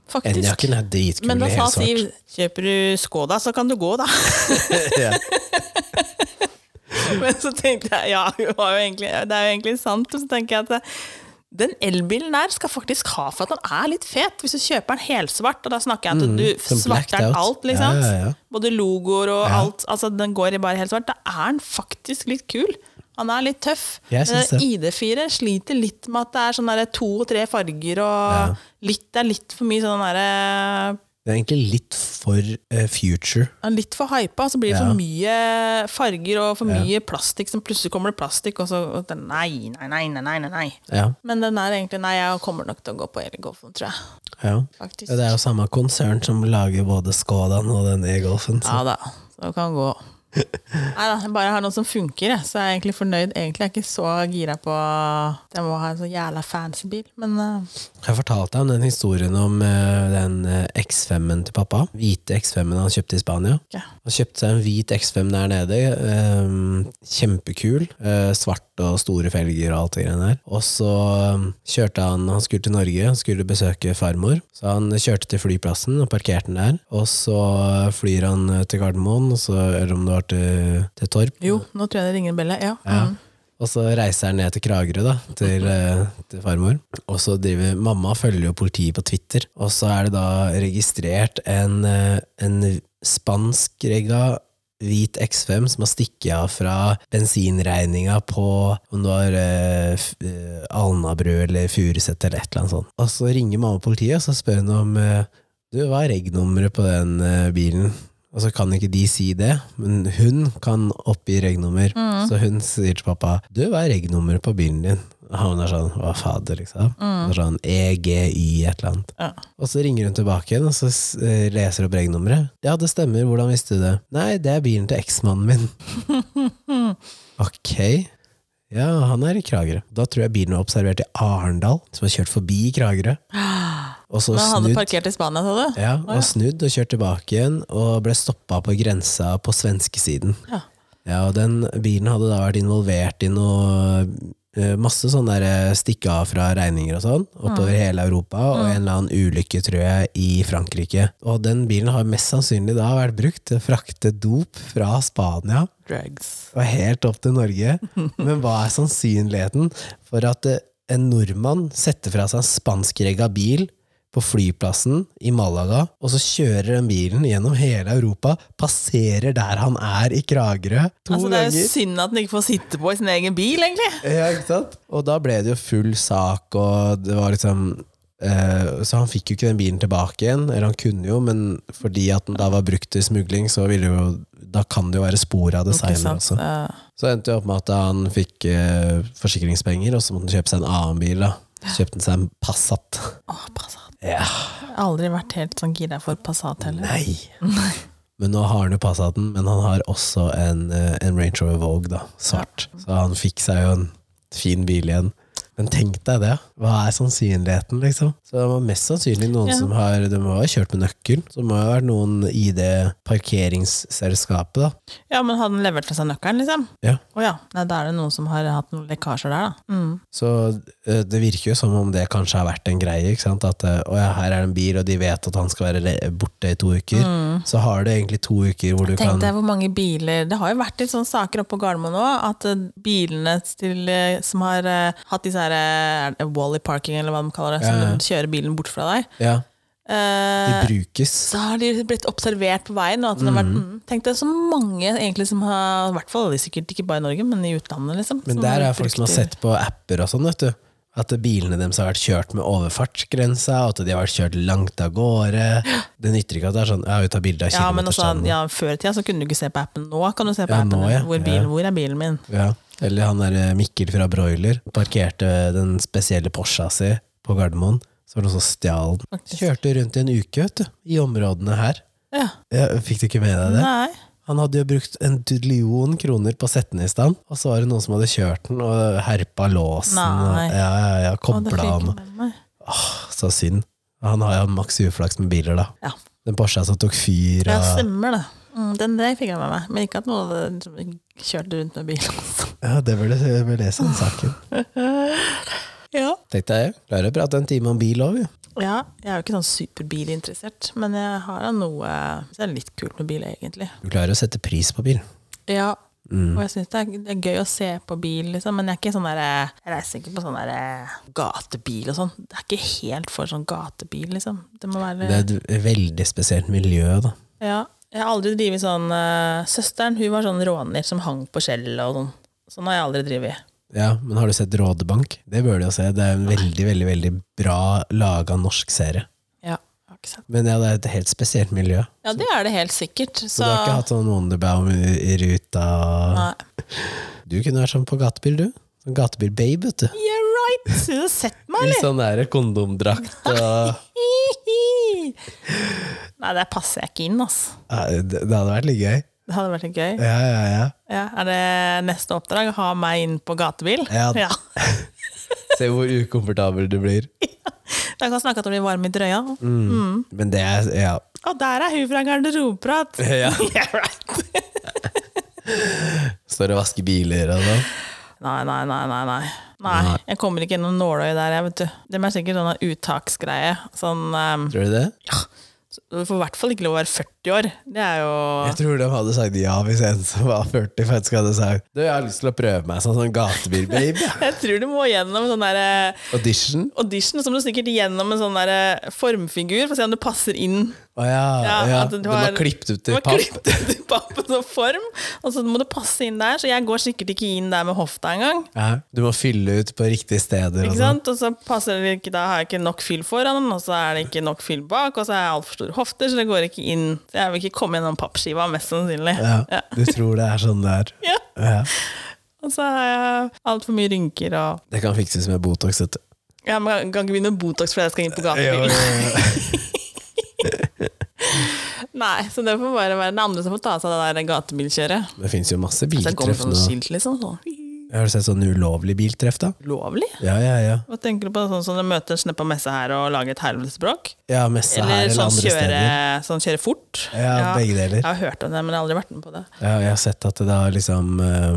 A: Faktisk.
B: Enjaken er dritkul
A: Men
B: i
A: da sa Siv
B: helt svart.
A: kjøper du Skoda, så kan du gå, da.
B: ja.
A: Men så tenkte jeg ja, hun har jo egentlig, det er jo egentlig sant. Og så tenker jeg at det- den elbilen der skal faktisk ha for at den er litt fet. Hvis du kjøper den helsvart, og da snakker jeg at du
B: Mm, som blacked
A: svarter
B: out.
A: alt, liksom.
B: Ja, ja, ja.
A: Både logoer og
B: Ja.
A: alt. Altså, den går i bare helt svart. Da er den faktisk litt kul. Han er litt tøff. Eh,
B: Jeg
A: Men
B: syns det.
A: ID4 sliter litt med at det er sånn derre to og tre farger, og
B: Ja.
A: litt, det er litt for mye sånn derre
B: Det er egentlig litt for eh, future.
A: ja, Litt for hypa, så blir det
B: Ja.
A: for mye farger og for mye plastikk. Som plutselig kommer det plastikk, og så og det, nei, nei, nei, nei, nei, nei, nei.
B: Ja.
A: Men den er egentlig Nei, jeg kommer nok til å gå på Elgolfen, tror jeg.
B: ja.
A: Faktisk.
B: Ja, Det er jo samme konsern som lager både Skodaen og den E-Golfen. så-
A: Ja da, så det kan gå. Nei da, jeg bare har noe som funker, jeg, så jeg er egentlig fornøyd. Egentlig er jeg ikke så gira på at jeg må ha en så jævla fancy bil, men eh,
B: Har Jeg fortalte deg om den historien om eh, den eh, X5-en til pappa. Hvite X5-en han kjøpte i Spania.
A: ok.
B: Han kjøpte seg en hvit X5 der nede. eh, kjempekul. eh, svart og store felger og alt det greiene der. Og så eh, kjørte han Han skulle til Norge, han skulle besøke farmor. Så han kjørte til flyplassen og parkerte den der. Og så eh, flyr han eh, til Gardermoen, og så, eller om det var til, til Torp.
A: Jo, nå tror jeg det ringer en bjelle. Ja.
B: Ja.
A: Mm.
B: Og så reiser han ned til Kragerø, da, til, eh, til farmor. Og så driver Mamma følger jo politiet på Twitter, og så er det da registrert en, eh, en spanskrega hvit X5 som har stikket av fra bensinregninga på om det var eh, f- eh, Alnabru eller Furuset eller et eller annet sånt. Og så ringer mamma politiet, og så spør hun om eh, du, hva er reg-nummeret på den eh, bilen? Og så kan ikke de si det, men hun kan oppgi reg-nummer.
A: Mm.
B: Så hun sier til pappa du, hva er reg-nummeret på bilen din? Og han er sånn, hva fader, liksom. Han er sånn EGY et eller annet.
A: Mm. Ja.
B: Og så ringer hun tilbake igjen, og så s- eh, leser opp reg-nummeret. Ja, det stemmer, hvordan visste du det? Nei, det er bilen til eksmannen min. ok. Ja, han er i Kragerø. Da tror jeg bilen var observert i Arendal, som har kjørt forbi Kragerø. Og så
A: Men han hadde
B: snudd
A: parkert i Spania, sa du?
B: ja, og snudd og kjørt tilbake igjen, og ble stoppa på grensa på svenskesiden.
A: Ja.
B: Ja, og den bilen hadde da vært involvert i noe eh, Masse sånne der, eh, stikke av fra regninger og sånn, oppover hele Europa, og en eller annen ulykke, tror jeg, i Frankrike. Og den bilen har mest sannsynlig da vært brukt til å frakte dop fra Spania
A: Drugs.
B: og helt opp til Norge. Men hva er sannsynligheten for at eh, en nordmann setter fra seg en spanskregga bil på flyplassen i Malaga, og så kjører den bilen gjennom hele Europa, passerer der han er i Kragerø to
A: Altså, det er jo
B: ganger.
A: synd at den ikke får sitte på i sin egen bil, egentlig.
B: Ja, ikke sant? Og da ble det jo full sak, og det var liksom eh, så han fikk jo ikke den bilen tilbake igjen, eller han kunne jo, men fordi at den da var brukt til smugling, så ville jo, da kan det jo være spor av det
A: Ikke
B: seinere
A: sant? Eh,
B: også.
A: Ja.
B: Så endte det opp med at han fikk eh, forsikringspenger, og så måtte han kjøpe seg en annen bil. da. Så kjøpte han seg en Passat.
A: Åh, Passat.
B: Ja,
A: Jeg har aldri vært helt sånn gira for Passat heller.
B: nei! Men nå har han jo Passaten, men han har også en, eh, en Range Rover Vogue, da, svart. Så han fikk seg jo en fin bil igjen. Men tenk deg det, hva er sannsynligheten, liksom? Så det var mest sannsynlig noen
A: Ja.
B: som har De må ha kjørt med nøkkel. Så det må jo ha vært noen i det parkeringsselskapet, da.
A: Ja, men hadde han levert fra seg nøkkelen, liksom?
B: Ja.
A: Å ja. Nei, da er det noen som har hatt noen lekkasjer der, da. Mm.
B: Så eh, det virker jo som om det kanskje har vært en greie. Ikke sant? At eh, å ja, her er det en bil, og de vet at han skal være le- borte i to uker. Så har du egentlig to uker hvor du
A: Mm. Tenk
B: kan
A: deg hvor mange biler Det har jo vært litt sånne saker oppe på Gardermoen òg, at eh, bilene til, eh, som har eh, hatt disse her eh, er det Wally parking, eller hva de kaller det,
B: Ja, ja.
A: som kjører bilen bort fra deg.
B: Ja, de
A: Eh,
B: brukes.
A: så har de blitt observert på veien. Og at det har vært, mm, tenk deg så mange egentlig som har I hvert fall det er sikkert ikke bare i Norge, men i utlandet. liksom.
B: Men
A: som
B: der
A: har
B: er folk som har
A: brukt
B: sett på apper og sånn, vet du. At bilene deres har vært kjørt med overfartsgrensa, og at de har vært kjørt langt av gårde. Det nytter ikke at det er sånn ja, vi tar bilde av
A: Ja, men altså, også,
B: kilometerstanden. Ja,
A: ja, Før i tida så kunne du ikke se på appen. Nå kan du se på
B: Ja,
A: appen.
B: nå, ja.
A: Hvor, bil,
B: Ja.
A: hvor er bilen min?
B: Eller han der eh, Mikkel fra Broiler parkerte den spesielle Porscha si på Gardermoen. Så var det noen som stjal den.
A: Faktisk.
B: Kjørte rundt i en uke, vet du. I områdene her.
A: Ja.
B: Ja, fikk du ikke med deg det?
A: Nei.
B: Han hadde jo brukt en dudelion kroner på å sette den i stand, og så var det noen som hadde kjørt den og herpa låsen og
A: Nei.
B: ja, ja, ja,
A: Å, det
B: kobla
A: fikk
B: han.
A: jeg med meg.
B: Så synd. Han har jo maks uflaks med biler, da.
A: Ja.
B: Den Porscha som tok fyr
A: ja,
B: og
A: stemmer det. Mm, den der fikk jeg med meg. Men ikke at noen hadde liksom kjørt rundt med bil. altså.
B: Ja, det burde jeg lese den saken.
A: ja.
B: Tenk deg, jeg klarer å prate en time om bil òg, vi.
A: ja. Jeg er jo ikke sånn superbilinteressert, men jeg har da noe Så er det litt kult med bil, egentlig.
B: Du klarer å sette pris på bil.
A: Ja.
B: Mm.
A: Og jeg syns det, er- det er gøy å se på bil, liksom, men jeg er ikke sånn der, jeg reiser ikke på sånn der eh, gatebil og sånn. Det er ikke helt for sånn gatebil, liksom. Det må være
B: Det er et veldig spesielt miljø, da.
A: Ja. Jeg har aldri drevet sånn eh, Søsteren hun var sånn råner som hang på skjellet og sånn. Sånn har jeg aldri drevet.
B: Ja, men har du sett Rådebank? Det bør du jo se. Det er en veldig, veldig, veldig bra laga norsk serie.
A: Ja, jeg har ikke sett.
B: Men ja, det er et helt spesielt miljø.
A: ja, det er det helt sikkert. Så,
B: Så du har ikke hatt sånn Wonderbaum i, i ruta?
A: Nei.
B: Du kunne vært sånn på gatebil, du. Sånn gatebil-babe, vet du.
A: Yeah right! Du har sett meg,
B: I
A: eller?
B: sånn der kondomdrakt og
A: Nei, der passer jeg ikke inn, altså.
B: ja, det, det hadde vært litt gøy.
A: Det hadde vært litt gøy.
B: Ja, ja, ja.
A: Ja, er det neste oppdrag? Ha meg inn på gatebil?
B: Ja. Se hvor ukomfortabel du blir.
A: Da kan vi snakke om det blir varm i drøya.
B: Mm.
A: Mm.
B: Men det er Ja.
A: Og der er hun fra garderobeprat!
B: ja.
A: Yeah right!
B: Står og vasker biler og sånn.
A: Nei, nei, nei, nei, nei. Nei, jeg kommer ikke gjennom nåløy der, jeg, vet du. Det er sikkert sånn uttaksgreie. Sånn, ehm,
B: Tror du det?
A: du får i hvert fall ikke lov å være 40 år. Det er jo
B: Jeg tror de hadde sagt ja hvis en som var 40 faktisk hadde sagt Du, jeg har lyst til å prøve meg som sånn gatebil-babe.
A: Jeg tror du må gjennom sånn der eh,
B: Audition.
A: audition, så må du sikkert gjennom en sånn der eh, formfigur for å se om du passer inn.
B: Å ja.
A: Ja,
B: ja.
A: at du
B: De
A: har-
B: har klippet ut
A: Du
B: til
A: må
B: papp.
A: klippe ut i pappen som sånn form, og så må du passe inn der. Så jeg går sikkert ikke inn der med hofta engang.
B: Ja. Du må fylle ut på riktige steder.
A: Ikke
B: Og sånn.
A: sant? Og så passer det ikke, da har jeg ikke nok fyll foran, og så er det ikke nok fyll bak, og så er jeg altfor store hofter, så det går ikke inn. Så jeg vil ikke komme gjennom pappskiva, mest sannsynlig.
B: ja. Du tror det er sånn det er.
A: Ja.
B: Ja.
A: Og så har jeg altfor mye rynker og
B: Det kan fikses med Botox, vet du.
A: Ja, men Kan ikke begynne med Botox fordi jeg skal inn på gatebil. Nei, så det får bare være den andre som får ta seg av det der gatebilkjøret.
B: Det fins jo
A: Så
B: masse
A: det kommer
B: biltreff
A: sånn
B: nå.
A: skilt, liksom. Sånn.
B: Har du sett sånn ulovlig biltreff, da?
A: Lovlig?
B: Ja, ja, ja.
A: Hva tenker du på? Sånn som du møter en snepp av messe her og lager et helvetesbråk?
B: Ja, messe her
A: Eller
B: eller
A: sånn
B: andre
A: kjøre,
B: steder.
A: sånn kjøre fort?
B: Ja, begge deler.
A: Jeg har hørt om det, men jeg har aldri vært med på det.
B: Ja, jeg har sett at det har liksom eh,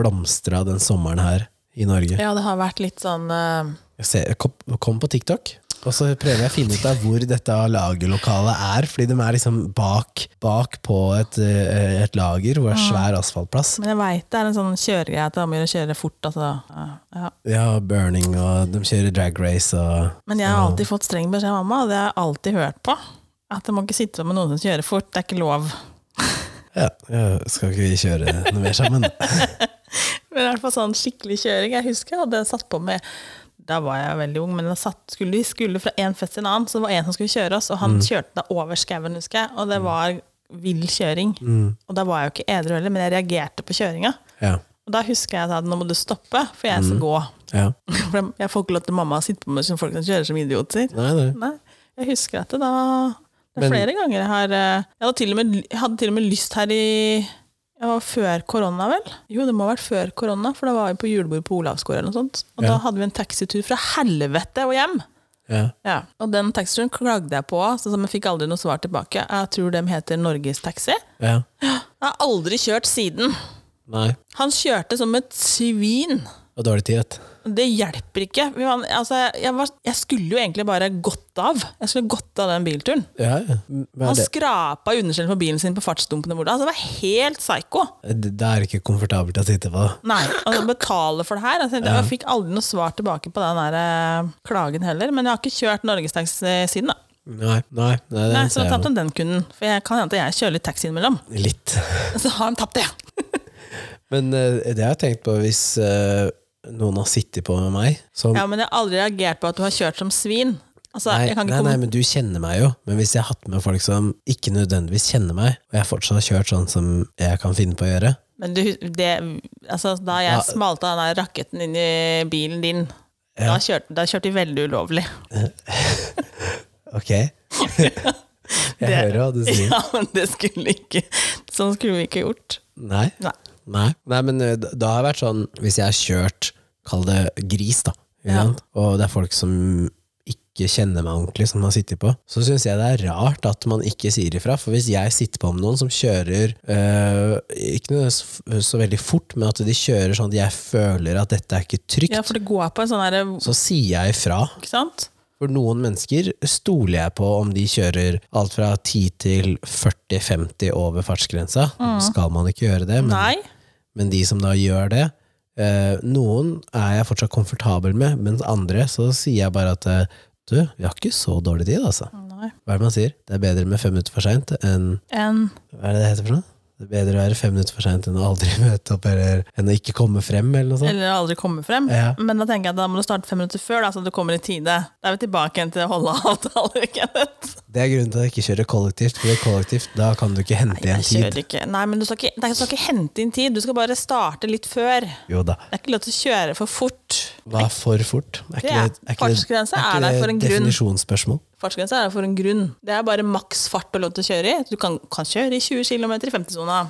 B: blomstra den sommeren her i Norge.
A: Ja, det har vært litt sånn eh,
B: Jeg ser, jeg kom, kom på TikTok, og så prøver jeg å finne ut av hvor dette lagerlokalet er. Fordi de er liksom bak, bak på et, eh, et lager hvor
A: Ah.
B: det er svær asfaltplass.
A: Men jeg veit det er en sånn kjøregreie at det er om å gjøre å kjøre fort. Altså. Ja.
B: Ja, burning, og de kjører drag race og
A: Men jeg har alltid fått streng beskjed av mamma, og det har jeg alltid hørt på. At jeg må ikke sitte med noen som kjører fort, det er ikke lov.
B: ja, ja, skal ikke vi kjøre noe mer sammen?
A: Men i hvert fall sånn skikkelig kjøring. Jeg husker jeg hadde satt på med Da var jeg veldig ung, men jeg satt, skulle, vi skulle fra en fest til en annen, så det var en som skulle kjøre oss, og han kjørte da over skauen, husker jeg, og det var vill kjøring. Og da var jeg jo ikke edru heller, men jeg reagerte på kjøringa.
B: Ja,
A: Og da husker jeg at jeg sa, nå må du stoppe, for jeg skal gå.
B: ja.
A: For jeg- jeg får ikke lov til mamma å sitte på meg som folk som kjører som idioter.
B: Nei, nei.
A: Nei, jeg husker at det da Det er flere ganger jeg har eh, jeg hadde, til og med, jeg hadde til og med lyst her i jeg var Før korona, vel? Jo, det må ha vært før korona, for da var vi på julebord på Olavsgård. eller noe sånt. Og da
B: Ja.
A: hadde vi en taxitur fra helvete og hjem!
B: Ja.
A: Ja. Og den taxituren klagde jeg på, så jeg fikk aldri noe svar tilbake. Jeg tror dem heter Norges Taxi.
B: ja.
A: Jeg har aldri kjørt siden.
B: Nei.
A: Han kjørte som et svin.
B: Og dårlig tid, vet du.
A: Det hjelper ikke. Vi var, altså, jeg, var, jeg skulle jo egentlig bare gått av. Jeg skulle gått av den bilturen.
B: Ja, ja. Hva
A: Han
B: er det?
A: skrapa underskjellen på bilen sin på fartsdumpene. hvor det- Altså, det var helt psyko.
B: det det er ikke komfortabelt å sitte på.
A: Nei, altså betale for det her. Altså, jeg fikk aldri noe svar tilbake på den der, eh, klagen heller. Men jeg har ikke kjørt norgestaxi siden, da.
B: Nei, nei, nei det
A: Nei, så
B: ser
A: da
B: jeg
A: tapte han den kunden. For jeg kan hende at jeg kjører litt taxi innimellom.
B: jo. Litt.
A: Så har han tapt det.
B: Men eh, det har jeg tenkt på hvis eh, noen har sittet på med meg som
A: Ja, men jeg har aldri reagert på at du har kjørt som svin. Altså,
B: Nei,
A: jeg kan
B: nei,
A: ikke
B: nei,
A: komme
B: men du kjenner meg jo. Men hvis jeg har hatt med folk som ikke nødvendigvis kjenner meg, og jeg fortsatt har kjørt sånn som jeg kan finne på å gjøre
A: Men du, det, altså, da jeg
B: Ja.
A: smalta den der raketten inn i bilen din, da, kjørte, da kjørte de veldig ulovlig.
B: Ok. jeg hører hva du sier.
A: Ja, men det skulle ikke Sånn skulle vi ikke gjort.
B: Nei.
A: Nei.
B: Nei. Nei, men eh, da da har jeg vært sånn Hvis jeg har kjørt, kall det gris, da, ikke
A: Ja.
B: sant? og det er folk som ikke kjenner meg ordentlig, som har sittet på, så syns jeg det er rart at man ikke sier ifra. For hvis jeg sitter på med noen som kjører eh, Ikke nødvendigvis f- så veldig fort, men at de kjører sånn at jeg føler at dette er ikke trygt,
A: Ja, for det går på en sånn herre
B: så sier jeg ifra.
A: Ikke sant?
B: For noen mennesker stoler jeg på om de kjører alt fra 10 til 40-50 over fartsgrensa. Skal man ikke gjøre det, men
A: Mm. Nei.
B: men de som da gjør det eh, Noen er jeg fortsatt komfortabel med, mens andre så sier jeg bare at eh, du, vi har ikke så dårlig tid, altså.
A: Nei.
B: Hva er det man sier? Det er bedre med fem minutter for seint enn
A: En
B: Hva er det det heter for noe? Det er bedre å være fem minutter for seint enn å aldri møte opp, eller enn å ikke komme frem, eller noe sånt.
A: eller aldri komme frem.
B: Ja.
A: Men da tenker jeg at da må du starte fem minutter før, da, så du kommer i tide. Da er vi tilbake igjen til å holde avtaler. Kenneth.
B: Det er grunnen til at jeg ikke kjører kollektivt, for i kollektivt, da kan du ikke hente
A: Jeg
B: igjen tid.
A: kjører ikke. Nei, men du skal ikke, nei, du skal ikke hente inn tid. Du skal bare starte litt før. Det
B: Jo da.
A: er ikke lov til å kjøre for fort.
B: Hva er for fort? Er
A: Det er- fartsgrense er der for en grunn.
B: definisjonsspørsmål?
A: Fartsgrensa er der for en grunn. Det er bare maks fart du har lov til å kjøre i. Du kan, kan kjøre i 20 km i 50-sona.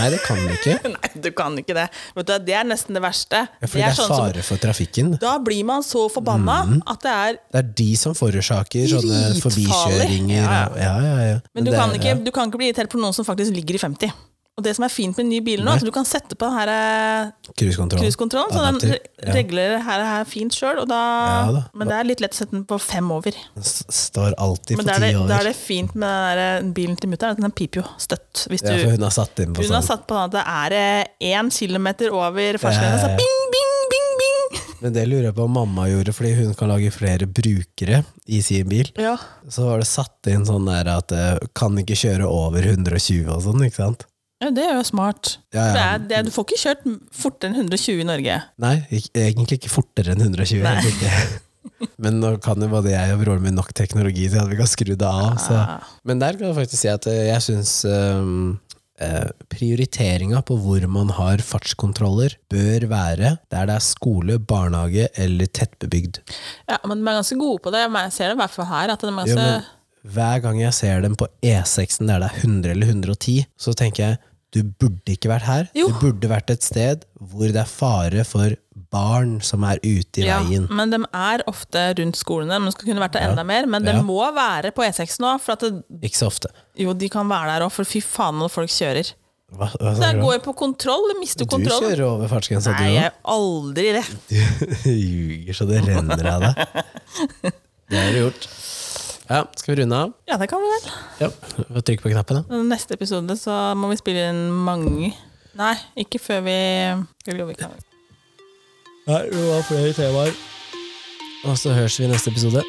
B: Nei, det kan det ikke.
A: Nei, du kan ikke det. Vet du, hva, det er nesten det verste.
B: Ja, Fordi det er,
A: sånn som-
B: fare Mhm. for trafikken.
A: da blir man så forbanna at det er
B: Det er de som forårsaker sånne
A: Dritfarlig.
B: forbikjøringer.
A: Ja,
B: og- Ja, ja, ja.
A: Men du,
B: det-
A: kan ikke,
B: ja.
A: du kan ikke bli irritert på noen som faktisk ligger i 50. Og det som er fint med den nye bilen nå,
B: Nei.
A: at du kan sette på den her eh,
B: Cruisekontroll.
A: cruisekontrollen, så den
B: Adaptiv.
A: re- regler her, her fint sjøl, og da,
B: Ja da.
A: Men det er litt lett å sette den på fem over.
B: Den s- står alltid på
A: Men da er,
B: ti
A: det,
B: over.
A: da er det fint med den der eh, bilen til mutter'n, at den piper jo støtt. Hvis du,
B: ja, for hun har satt inn på
A: hun har
B: sånn.
A: satt på den at det er eh, én kilometer over
B: Ja,
A: fartsgrensa, så
B: ja, ja.
A: bing, bing, bing, bing!
B: Men det lurer jeg på om mamma gjorde, fordi hun kan lage flere brukere i sin bil.
A: Ja.
B: Så var det satt inn sånn der at eh, kan ikke kjøre over 120 og sånn, ikke sant?
A: ja, det er jo smart.
B: Ja,
A: Det
B: ja.
A: er, det er, du får ikke kjørt fortere enn 120 i Norge.
B: Nei, ikk- egentlig ikke fortere enn 120.
A: Nei.
B: egentlig ikke. Men nå kan jo både jeg og broren min nok teknologi til at vi kan skru det av. Så.
A: Ah.
B: Men der kan jeg faktisk si at eh, jeg syns ehm, eh, prioriteringa på hvor man har fartskontroller, bør være der det er skole, barnehage eller tettbebygd.
A: Ja, men de er ganske gode på det. Men Jeg ser det i hvert fall her. At de er
B: Jo,
A: ganske,
B: men hver gang jeg ser dem på E6-en der det er 100 eller 110, så tenker jeg du burde ikke vært her.
A: Jo.
B: Du burde vært et sted hvor det er fare for barn som er ute i
A: ja,
B: veien.
A: men de er ofte rundt skolene. De skulle kunne vært der enda mer, men de
B: Ja.
A: må være på E6 nå. For at det,
B: Ikke så ofte.
A: jo, de kan være der òg, for fy faen når folk kjører.
B: Hva, hva
A: Så jeg
B: snakker du om?
A: går jo på kontroll, jeg mister
B: Du
A: kontrollen.
B: kjører over fartsgrensa,
A: Nei,
B: du
A: jeg er aldri det.
B: òg. Du ljuger så det renner av deg. Det har du gjort. Ja, skal vi runde av?
A: Ja, det kan vi vel.
B: Ja. Få Trykk på knappen, da.
A: Neste episode så må vi spille inn mange. Nei, ikke før vi Jo, vi kan.
B: Nei, det var flere temaer. Og så høres vi i neste episode.